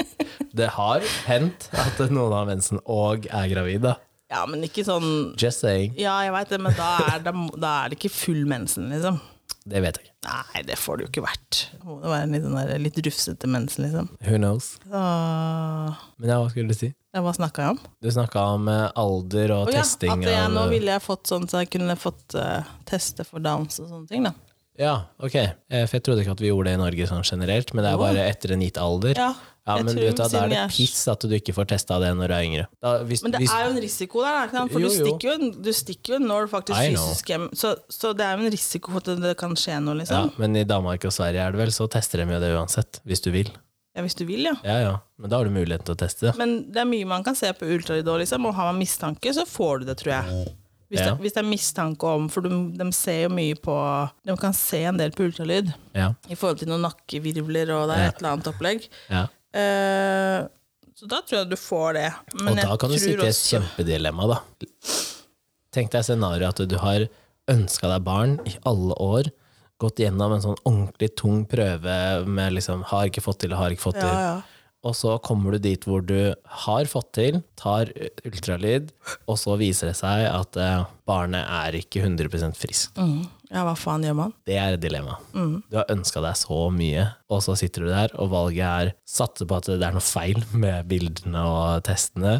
Speaker 1: Det har hendt at noen har mensen og er gravid, da.
Speaker 2: ja, men ikke sånn
Speaker 1: Just saying.
Speaker 2: Ja, jeg veit det, men da er, det, da er det ikke full mensen, liksom.
Speaker 1: Det vet jeg ikke.
Speaker 2: Nei, det får det jo ikke vært. Det må jo være en litt, sånn der, litt rufsete mensen, liksom.
Speaker 1: Who knows?
Speaker 2: Så
Speaker 1: Men ja, hva skulle du si?
Speaker 2: ja, Hva snakka jeg om?
Speaker 1: Du snakka om eh, alder og
Speaker 2: Å ja,
Speaker 1: testing
Speaker 2: at jeg,
Speaker 1: av eh,
Speaker 2: nå ville jeg fått sånn så jeg kunne fått eh, teste for downs og sånne ting, da.
Speaker 1: Ja, ok. Eh, For jeg trodde ikke at vi gjorde det i Norge sånn generelt, men det er bare etter en gitt alder.
Speaker 2: Ja, jeg
Speaker 1: men
Speaker 2: tror
Speaker 1: du vet, da, da
Speaker 2: siden
Speaker 1: er det
Speaker 2: jeg-
Speaker 1: piss at du ikke får testa det når du er yngre. Da, hvis,
Speaker 2: Men det
Speaker 1: hvis,
Speaker 2: er jo en risiko der, da, ikke sant? for
Speaker 1: Jo,
Speaker 2: du
Speaker 1: jo.
Speaker 2: stikker jo en- du stikker jo en nål faktisk
Speaker 1: I know.
Speaker 2: fysisk hjem. Så, så det er jo en risiko for at det kan skje noe,
Speaker 1: Ja,
Speaker 2: liksom.
Speaker 1: men i Danmark og Sverige er det vel, så tester de jo det uansett, hvis du vil.
Speaker 2: Ja, hvis du vil, ja.
Speaker 1: Ja, ja, men da har du muligheten til å teste det.
Speaker 2: Men det er mye man kan se på ultralyd òg, liksom. Og har man mistanke, så får du det, tror jeg. Hvis,
Speaker 1: Ja.
Speaker 2: det, hvis det er mistanke om For de, de ser jo mye på De kan se en del på ultralyd
Speaker 1: Ja,
Speaker 2: i forhold til noen nakkevirvler og det er et eller annet opplegg.
Speaker 1: ja.
Speaker 2: Eh, så da tror jeg du får det. Men
Speaker 1: Og da
Speaker 2: jeg
Speaker 1: kan du
Speaker 2: tror
Speaker 1: sitte i et
Speaker 2: også-
Speaker 1: kjempedilemma, da. Tenk deg scenarioet at du har ønska deg barn i alle år, gått gjennom en sånn ordentlig tung prøve med liksom har ikke fått til, har ikke fått til.
Speaker 2: ja, ja.
Speaker 1: Og så kommer du dit hvor du har fått til, tar ultralyd, og så viser det seg at eh, barnet er ikke 100 friskt.
Speaker 2: ja, hva faen gjør man?
Speaker 1: Det er et dilemma. Du har ønska deg så mye, og så sitter du der, og valget er satse på at det er noe feil med bildene og testene.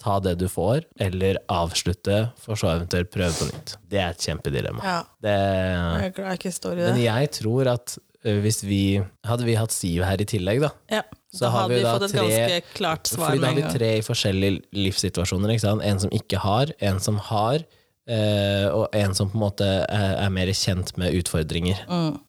Speaker 1: Ta det du får, eller avslutte, for så eventuelt prøve på nytt. Det er et kjempedilemma.
Speaker 2: Ja,
Speaker 1: Det,
Speaker 2: jeg er glad jeg ikke står i det.
Speaker 1: men jeg tror at ø, hvis vi Hadde vi hatt Siv her i tillegg, da,
Speaker 2: Ja,
Speaker 1: Så
Speaker 2: da
Speaker 1: har
Speaker 2: hadde
Speaker 1: vi
Speaker 2: vi
Speaker 1: da
Speaker 2: fått et
Speaker 1: tre-
Speaker 2: ganske klart svar
Speaker 1: Fordi da
Speaker 2: med
Speaker 1: har
Speaker 2: en
Speaker 1: vi
Speaker 2: gang.
Speaker 1: tre forskjellige livssituasjoner. Ikke sant? En som ikke har, en som har, eh, og en som på en måte er, er mer kjent med utfordringer.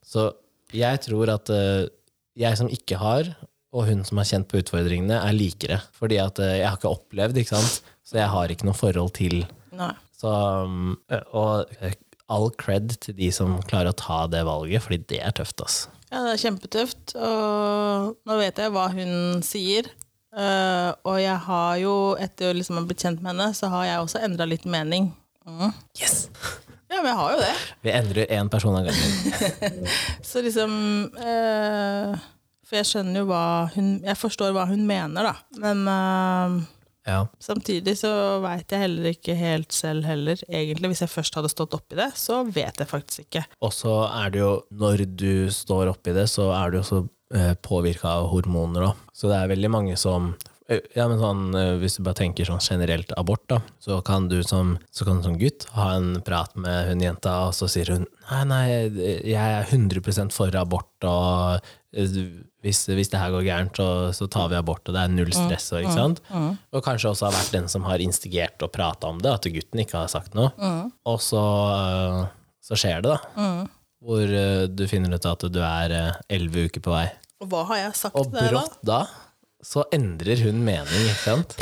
Speaker 1: Så jeg tror at eh, jeg som ikke har, og hun som er kjent på utfordringene, er likere. Fordi at eh, jeg har ikke opplevd, ikke sant? så jeg har ikke noe forhold til
Speaker 2: Nei.
Speaker 1: så, um, Og eh, all cred til de som klarer å ta det valget, fordi det er tøft, ass.
Speaker 2: Ja, det er kjempetøft, og nå vet jeg hva hun sier. Eh, og jeg har jo, etter å liksom ha blitt kjent med henne, så har jeg også endra litt mening. Mm.
Speaker 1: Yes!
Speaker 2: Ja, men jeg har jo det.
Speaker 1: Vi endrer én person av gangen.
Speaker 2: Så liksom eh, For jeg skjønner jo hva hun Jeg forstår hva hun mener, da. Men eh,
Speaker 1: Ja.
Speaker 2: samtidig så veit jeg heller ikke helt selv heller, egentlig. Hvis jeg først hadde stått oppi det, så vet jeg faktisk ikke.
Speaker 1: Og så er det jo, når du står oppi det, så er du også eh, påvirka av hormoner òg. Så det er veldig mange som eh, ja, men sånn, eh, Hvis du bare tenker sånn generelt abort, da, så kan du som, så kan du som gutt ha en prat med hun jenta, og så sier hun nei, nei, jeg er 100 for abort, og eh, hvis, hvis det her går gærent, så, så tar vi abort, og det er null stress. Og, ikke sant? og kanskje også har vært den som har instigert og prata om det, at gutten ikke har sagt noe. Og så, eh, så skjer det, da hvor eh, du finner ut at du er eh, elleve uker på vei.
Speaker 2: Og hva har jeg sagt
Speaker 1: Og
Speaker 2: der, da?
Speaker 1: brått da så endrer hun mening, ikke sant?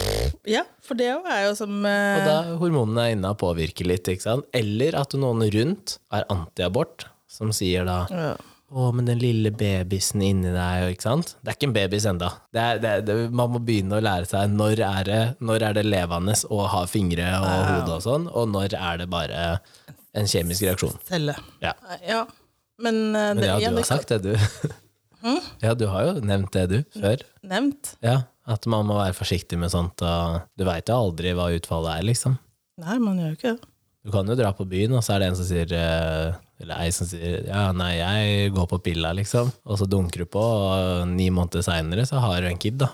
Speaker 2: Ja, for det er jo som eh,
Speaker 1: Og da hormonene er inne og påvirker litt, ikke sant? Eller at noen rundt er antiabort, som sier da
Speaker 2: ja.
Speaker 1: å, men den lille babysen inni deg, ikke sant? Det er ikke en babys enda. Det er, det er, det, man må begynne å lære seg når er det, når er det levende å ha fingre og hode og sånn, og når er det bare en kjemisk reaksjon.
Speaker 2: Telle.
Speaker 1: Ja.
Speaker 2: ja. Men, Hm? eh,
Speaker 1: Men
Speaker 2: det,
Speaker 1: ja,
Speaker 2: ja,
Speaker 1: du
Speaker 2: det
Speaker 1: har sagt det, du. Ja, du har jo nevnt det, du, før.
Speaker 2: nevnt.
Speaker 1: Ja, at man må være forsiktig med sånt, og du veit jo aldri hva utfallet er, liksom.
Speaker 2: Nei, man gjør jo ikke det.
Speaker 1: Du kan jo dra på byen, og så er det en som sier eh, Eller ei som sier Ja, nei, jeg går på pilla, liksom. Og så dunker du på, og ni måneder seinere så har du en kid, da.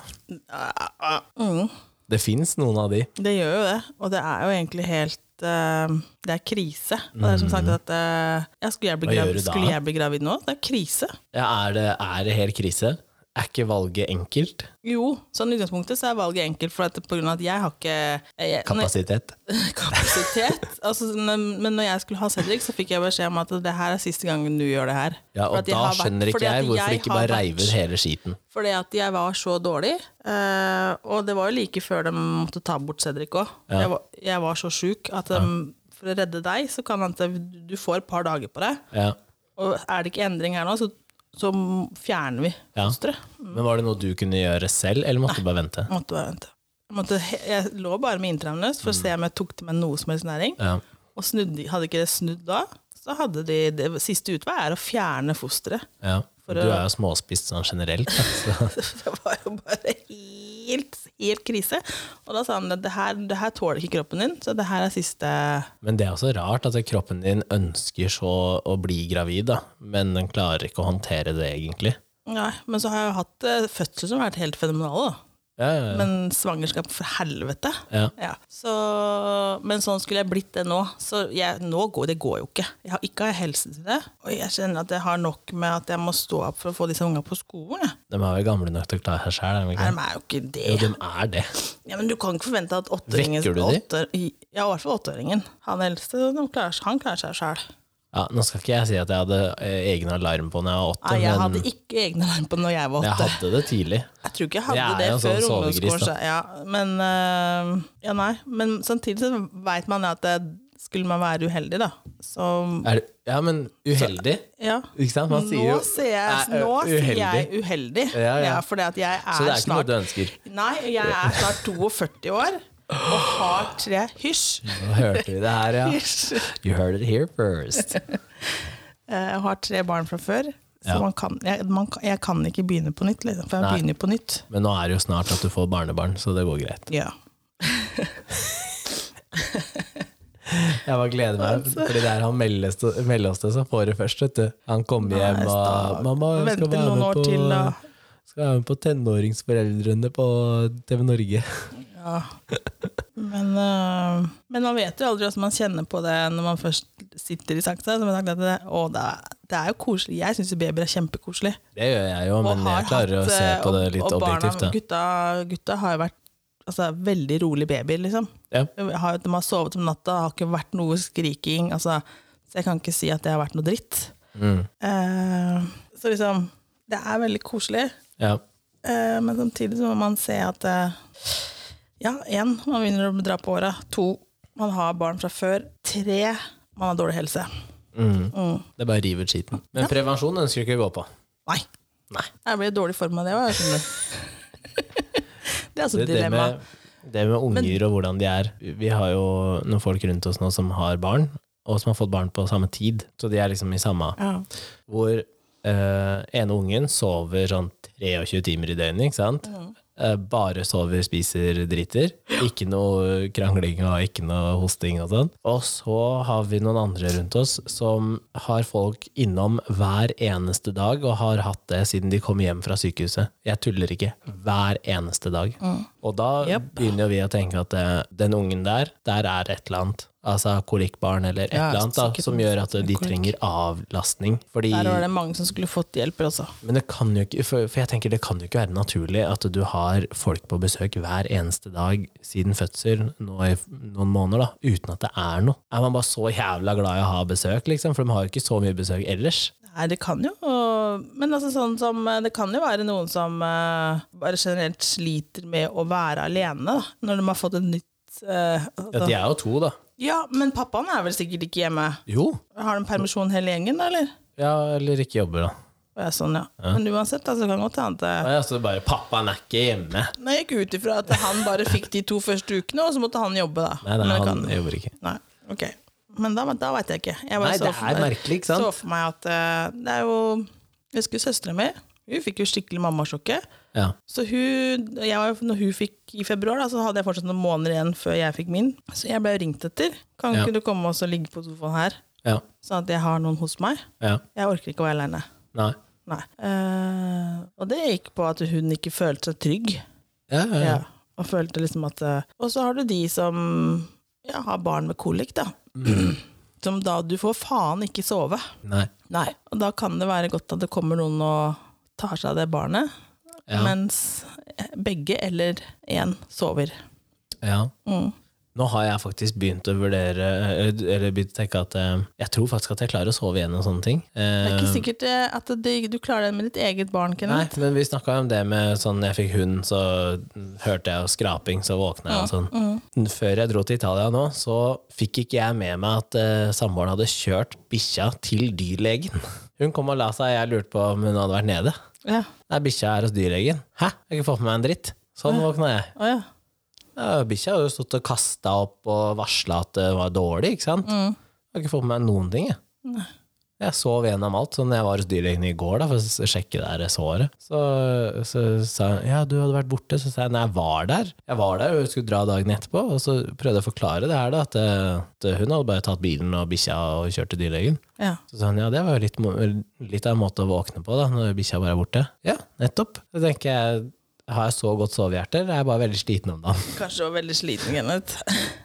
Speaker 2: Mm.
Speaker 1: Det fins noen av de.
Speaker 2: Det gjør jo det, og det er jo egentlig helt eh, Det er krise. Og Det er som sagt at eh, ja, skulle, jeg bli
Speaker 1: Mm. Hva gjør
Speaker 2: gravid,
Speaker 1: du da?
Speaker 2: skulle jeg bli gravid nå? Det er krise.
Speaker 1: Ja, er, det, er det helt krise? Er ikke valget enkelt?
Speaker 2: Jo, sånn i utgangspunktet så er valget enkelt, for at, på grunn av at jeg har ikke eh, jeg, når-
Speaker 1: Kapasitet?
Speaker 2: kapasitet. altså, men men når jeg skulle ha Cedric, så fikk jeg beskjed om at det her er siste gangen du gjør det her.
Speaker 1: Ja,
Speaker 2: For
Speaker 1: og
Speaker 2: at jeg
Speaker 1: da
Speaker 2: har vært-
Speaker 1: skjønner
Speaker 2: fordi
Speaker 1: ikke
Speaker 2: at
Speaker 1: jeg hvorfor de ikke
Speaker 2: har
Speaker 1: bare
Speaker 2: vært-
Speaker 1: reiver hele skiten.
Speaker 2: Fordi at jeg var så dårlig, eh, og det var jo like før de måtte ta bort Cedric òg. Jeg, var- jeg var så sjuk at em, for å redde deg, så kan han til- du får et par dager på deg.
Speaker 1: Ja.
Speaker 2: Og er det ikke endring her nå, så, så fjerner vi
Speaker 1: Ja. Mm.
Speaker 2: fosteret.
Speaker 1: Men var det noe du kunne gjøre selv, eller måtte du bare vente?
Speaker 2: Jeg Måtte bare vente. Jeg, måtte, he- jeg lå bare med intravenøst for å se om jeg tok til meg noe som helst næring.
Speaker 1: Ja.
Speaker 2: Og snudde, hadde ikke det snudd da, så hadde de det siste utvei er å fjerne fosteret.
Speaker 1: ja.
Speaker 2: For
Speaker 1: Du
Speaker 2: å-
Speaker 1: er jo småspist sånn generelt. da, Så.
Speaker 2: Det var jo bare helt, helt krise. Og da sa han at det her, det her tåler ikke kroppen din, så det her er siste
Speaker 1: Men det er også rart at kroppen din ønsker så å bli gravid, da, men den klarer ikke å håndtere det, egentlig.
Speaker 2: Nei, men så har jeg jo hatt eh, fødsel som har vært helt fenomenale, da.
Speaker 1: Ja, ja, ja.
Speaker 2: Men svangerskap, for helvete.
Speaker 1: ja.
Speaker 2: Ja, så, men sånn skulle jeg blitt det nå. Så jeg, nå går det går jo ikke. Jeg har ikke helse til det. Og jeg kjenner at jeg har nok med at jeg må stå opp for å få disse ungene på skolen. jeg.
Speaker 1: De er vel gamle nok til å klare seg sjæl?
Speaker 2: Nei, de er jo ikke det.
Speaker 1: Jo, de er det.
Speaker 2: Ja, men du kan ikke forvente at åtteåringen
Speaker 1: Vekker du de?
Speaker 2: åtte- Ja, i hvert fall åtteåringen. Han eldste han klarer, seg- han klarer seg sjæl.
Speaker 1: Ja, nå skal ikke jeg si at jeg hadde eh, egen alarm på når jeg var åtte,
Speaker 2: Nei, jeg hadde
Speaker 1: men
Speaker 2: ikke egne alarm på når jeg var
Speaker 1: jeg
Speaker 2: åtte.
Speaker 1: hadde det tidlig.
Speaker 2: Jeg tror ikke jeg
Speaker 1: Det er
Speaker 2: hadde det,
Speaker 1: jo en
Speaker 2: før
Speaker 1: sånn sovegris,
Speaker 2: ungdomsskolen.
Speaker 1: da.
Speaker 2: så- Ja, men, øh, ja, nei. men samtidig så veit man at det, skulle man være uheldig, da, så
Speaker 1: Er det, ja, men uheldig.
Speaker 2: ja.
Speaker 1: Ikke sant? Man sier jo
Speaker 2: nå ser jeg,
Speaker 1: er, ø,
Speaker 2: nå sier
Speaker 1: uheldig.
Speaker 2: jeg uheldig.
Speaker 1: Ja, ja.
Speaker 2: fordi at jeg er,
Speaker 1: Så det er ikke noe
Speaker 2: snart
Speaker 1: du ønsker.
Speaker 2: Nei, jeg er snart 42 år og har tre Hysj!
Speaker 1: Nå hørte vi det her, ja.
Speaker 2: Hysj.
Speaker 1: You heard it here first.
Speaker 2: Jeg har tre barn fra før. Så
Speaker 1: Ja.
Speaker 2: man kan, jeg, man, kan- jeg kan ikke begynne på nytt, liksom, for jeg
Speaker 1: Nei.
Speaker 2: begynner på nytt.
Speaker 1: Men nå er det jo snart at du får barnebarn, så det går greit.
Speaker 2: Ja.
Speaker 1: Jeg bare gleder meg, fordi det er han meldeste, meldeste som får det først, vet du. Han kommer hjem
Speaker 2: Nei,
Speaker 1: og
Speaker 2: stakkars.
Speaker 1: 'Mamma, jeg skal
Speaker 2: Venter
Speaker 1: være
Speaker 2: noen
Speaker 1: med
Speaker 2: år
Speaker 1: på,
Speaker 2: til, da.
Speaker 1: skal være med på tenåringsforeldrene på TV Norge'.
Speaker 2: Ja. Men, øh, men man vet jo aldri hvordan man kjenner på det når man først sitter i saksa. Som jeg har sagt, at det, å, det, er, det er jo koselig. Jeg syns babyer er kjempekoselig.
Speaker 1: Det gjør jeg jo, men
Speaker 2: har
Speaker 1: jeg klarer å
Speaker 2: hatt,
Speaker 1: se
Speaker 2: øh,
Speaker 1: på det
Speaker 2: og-
Speaker 1: litt
Speaker 2: og barna-
Speaker 1: objektivt. Da.
Speaker 2: Gutta, gutta har jo vært altså, veldig rolig babyer, liksom.
Speaker 1: Ja.
Speaker 2: De Har, de har sovet om natta, har ikke vært noe skriking. Altså, så jeg kan ikke si at det har vært noe dritt.
Speaker 1: Mm.
Speaker 2: Eh, så liksom, det er veldig koselig.
Speaker 1: Ja.
Speaker 2: Eh, men samtidig så må man se at eh, Ja, én, man begynner å dra på åra. To, man har barn fra før. Tre, man har dårlig helse.
Speaker 1: Mm.
Speaker 2: Mm.
Speaker 1: Det bare river ut skiten. Men prevensjon ønsker du ikke å gå på.
Speaker 2: Nei.
Speaker 1: Nei.
Speaker 2: Jeg blir i dårlig form av det òg, skjønner du. det er altså
Speaker 1: Det,
Speaker 2: et
Speaker 1: det,
Speaker 2: dilemma.
Speaker 1: med, det med unger og hvordan de er Vi har jo noen folk rundt oss nå som har barn, og som har fått barn på samme tid. Så de er liksom i samme
Speaker 2: Ja.
Speaker 1: hvor eh, ene ungen sover sånn 23 timer i døgnet, ikke sant? Eh, bare sover, spiser, driter. Ikke noe krangling og ikke noe hosting og sånn. Og så har vi noen andre rundt oss som har folk innom hver eneste dag, og har hatt det siden de kom hjem fra sykehuset. Jeg tuller ikke. Hver eneste dag. Og da
Speaker 2: Yep.
Speaker 1: begynner jo vi å tenke at eh, den ungen der, der er et eller annet. altså kolikkbarn eller et
Speaker 2: Ja,
Speaker 1: eller annet, da,
Speaker 2: sikkert
Speaker 1: som gjør at de
Speaker 2: kolikk.
Speaker 1: trenger avlastning. Fordi,
Speaker 2: Der var det mange som skulle fått hjelp altså. også.
Speaker 1: men det kan jo ikke, for, for jeg tenker det kan jo ikke være naturlig at du har folk på besøk hver eneste dag siden fødsel, nå i f- noen måneder, da, uten at det er noe. Er man bare så jævla glad i å ha besøk, liksom? For de har jo ikke så mye besøk ellers.
Speaker 2: Nei, det kan jo Men altså, sånn som, eh, det kan jo være noen som eh, bare generelt sliter med å være alene da, når de har fått et nytt eh,
Speaker 1: Ja,
Speaker 2: altså.
Speaker 1: de er jo to, da.
Speaker 2: Ja, men pappaen er vel sikkert ikke hjemme.
Speaker 1: Jo.
Speaker 2: Har de permisjon hele gjengen, da, eller?
Speaker 1: Ja, eller ikke jobber, da.
Speaker 2: Og jeg er sånn, ja. Men uansett, da, så kan det godt hende at
Speaker 1: Nei, altså bare pappaen er ikke hjemme.
Speaker 2: Nei, Jeg gikk ut ifra at han bare fikk de to første ukene, og så måtte han jobbe, da.
Speaker 1: Nei, nei,
Speaker 2: Men det
Speaker 1: han
Speaker 2: kan-
Speaker 1: jobber ikke.
Speaker 2: Nei, ok. Men da, da veit jeg ikke. Jeg bare
Speaker 1: Nei,
Speaker 2: så
Speaker 1: det
Speaker 2: for
Speaker 1: er
Speaker 2: meg-
Speaker 1: merkelig, ikke sant?
Speaker 2: Så for meg at eh, det er jo Jeg husker søstera mi. Hun fikk jo skikkelig mammasjokket.
Speaker 1: Ja.
Speaker 2: Så hun, jeg, var jo- når hun fikk i februar, da, så hadde jeg fortsatt noen måneder igjen før jeg fikk min. Så jeg ble ringt etter. Kan
Speaker 1: Ja.
Speaker 2: ikke du komme og så ligge på sofaen her,
Speaker 1: Ja.
Speaker 2: sånn at jeg har noen hos meg?
Speaker 1: Ja.
Speaker 2: Jeg orker ikke å være aleine.
Speaker 1: Nei.
Speaker 2: Nei. Eh, og det gikk på at hun ikke følte seg trygg.
Speaker 1: Ja, ja, ja.
Speaker 2: Ja. Og følte liksom at eh, Og så har du de som ja, har barn med kolikk, da. Som da du får faen ikke sove.
Speaker 1: Nei.
Speaker 2: Nei. Og da kan det være godt at det kommer noen og tar seg av det barnet,
Speaker 1: Ja.
Speaker 2: mens begge eller én sover.
Speaker 1: Ja.
Speaker 2: Mm.
Speaker 1: Nå har jeg faktisk begynt å vurdere Eller eller begynt å tenke at eh, jeg tror faktisk at jeg klarer å sove igjennom sånne ting.
Speaker 2: Det er ikke sikkert eh, at det, du klarer det med ditt eget barn,
Speaker 1: Nei,
Speaker 2: Kenneth.
Speaker 1: men vi snakka om det med sånn jeg fikk hund, så hørte jeg jo skraping, så våkna
Speaker 2: Mm,
Speaker 1: jeg og sånn. Før jeg dro til Italia nå, så fikk ikke jeg med meg at uh, samboeren hadde kjørt bikkja til dyrlegen. Hun kom og la seg, jeg lurte på om hun hadde vært nede.
Speaker 2: Ja.
Speaker 1: Nei, bikkja er hos dyrlegen. Hæ? Jeg har ikke fått med meg en dritt. Sånn våkna jeg.
Speaker 2: Å, ja.
Speaker 1: Ja, Bikkja har jo stått og kasta opp og varsla at det var dårlig, ikke sant? Jeg har ikke fått med meg noen ting, jeg. Jeg sov gjennom alt. Så når jeg var hos dyrlegen i går da, for å s- sjekke det her såret, så, så sa hun ja, du hadde vært borte. Så sa jeg nei, jeg var der. Jeg var der og skulle dra dagen etterpå. Og så prøvde jeg å forklare det her, da, at, eh, at hun hadde bare tatt bilen og bikkja og kjørt til dyrlegen.
Speaker 2: ja.
Speaker 1: Så sa han ja, det var jo litt, mo- litt av en måte å våkne på, da, når bikkja bare er borte. Ja, nettopp. Så tenker jeg, har jeg så godt sovehjerte, eller er jeg bare veldig sliten om dagen?
Speaker 2: Kanskje du var veldig sliten, Kenneth.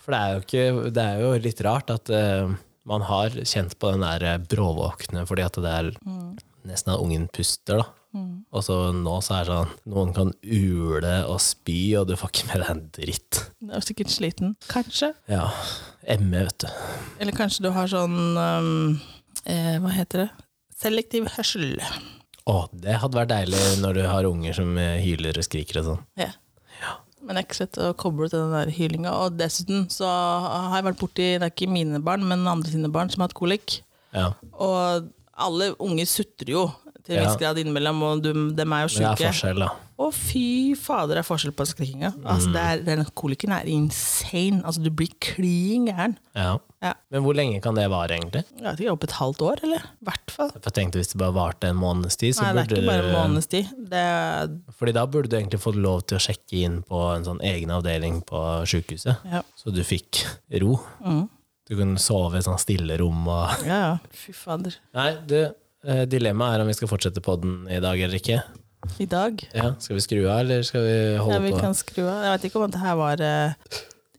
Speaker 1: For det er jo, ikke, det er jo litt rart at eh, man har kjent på den der eh, bråvåkne, fordi at det er
Speaker 2: Mm.
Speaker 1: nesten at ungen puster, da. Og så nå så er det sånn, noen kan ule og spy, og du får ikke med deg en dritt.
Speaker 2: Du er sikkert sliten. Kanskje.
Speaker 1: Ja, emme, vet du.
Speaker 2: Eller kanskje du har sånn um, eh, Hva heter det? Selektiv hørsel.
Speaker 1: Å, det hadde vært deilig når du har unger som eh, hyler og skriker og sånn.
Speaker 2: Ja. Men det er ikke så lett å koble til den der hylinga. Og dessuten så har jeg vært borti Det er ikke mine barn, men andre sine barn som har hatt kolikk.
Speaker 1: Ja.
Speaker 2: Og alle unger sutrer jo til en
Speaker 1: Ja.
Speaker 2: viss grad innimellom, og de, dem er jo
Speaker 1: Men det er
Speaker 2: sjuke.
Speaker 1: forskjell, da.
Speaker 2: Å, fy fader, det er forskjell på skrikinga.
Speaker 1: Mm.
Speaker 2: Altså, det er, den kolikeren er insane. Altså, du blir klin gæren.
Speaker 1: Ja.
Speaker 2: Ja.
Speaker 1: Men hvor lenge kan det vare, egentlig?
Speaker 2: Jeg vet ikke, opp et halvt år, eller? I hvert fall.
Speaker 1: For jeg tenkte Hvis det bare varte en måneds tid, så
Speaker 2: Nei, det er
Speaker 1: burde
Speaker 2: ikke bare en
Speaker 1: du-
Speaker 2: måneds tid. Det er
Speaker 1: Fordi da burde du egentlig fått lov til å sjekke inn på en sånn egen avdeling på sjukehuset,
Speaker 2: Ja.
Speaker 1: så du fikk ro. Du kunne sove i sånn stille rom og
Speaker 2: Ja, ja. Fy fader.
Speaker 1: Nei, du, eh, dilemmaet er om vi skal fortsette podden i dag eller ikke.
Speaker 2: I dag?
Speaker 1: Ja, skal vi skru av, eller skal vi
Speaker 2: Ja,
Speaker 1: holde
Speaker 2: vi
Speaker 1: på?
Speaker 2: kan skru av. Jeg vet ikke om det her var eh,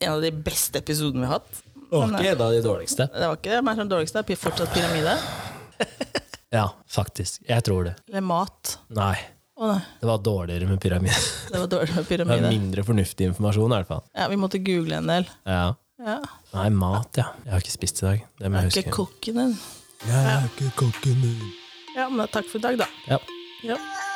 Speaker 2: en av de beste episodene vi har hatt.
Speaker 1: Å, ikke en av de dårligste.
Speaker 2: Det var ikke det, men den dårligste er pi- fortsatt pyramide.
Speaker 1: Ja, faktisk. Jeg tror det.
Speaker 2: Eller mat.
Speaker 1: Nei,
Speaker 2: Å nei,
Speaker 1: det var dårligere med pyramide.
Speaker 2: det var dårlig
Speaker 1: Det
Speaker 2: med
Speaker 1: var
Speaker 2: pyramide.
Speaker 1: mindre fornuftig informasjon, i hvert fall.
Speaker 2: Ja, vi måtte google en del.
Speaker 1: Ja.
Speaker 2: Ja.
Speaker 1: Nei, mat, ja. Jeg har ikke spist i dag. Det må jeg
Speaker 2: Ikke
Speaker 1: huske.
Speaker 2: kokken din.
Speaker 1: Jeg er ikke kokken din.
Speaker 2: Ja, men takk for i dag, da.
Speaker 1: Ja.
Speaker 2: Ja.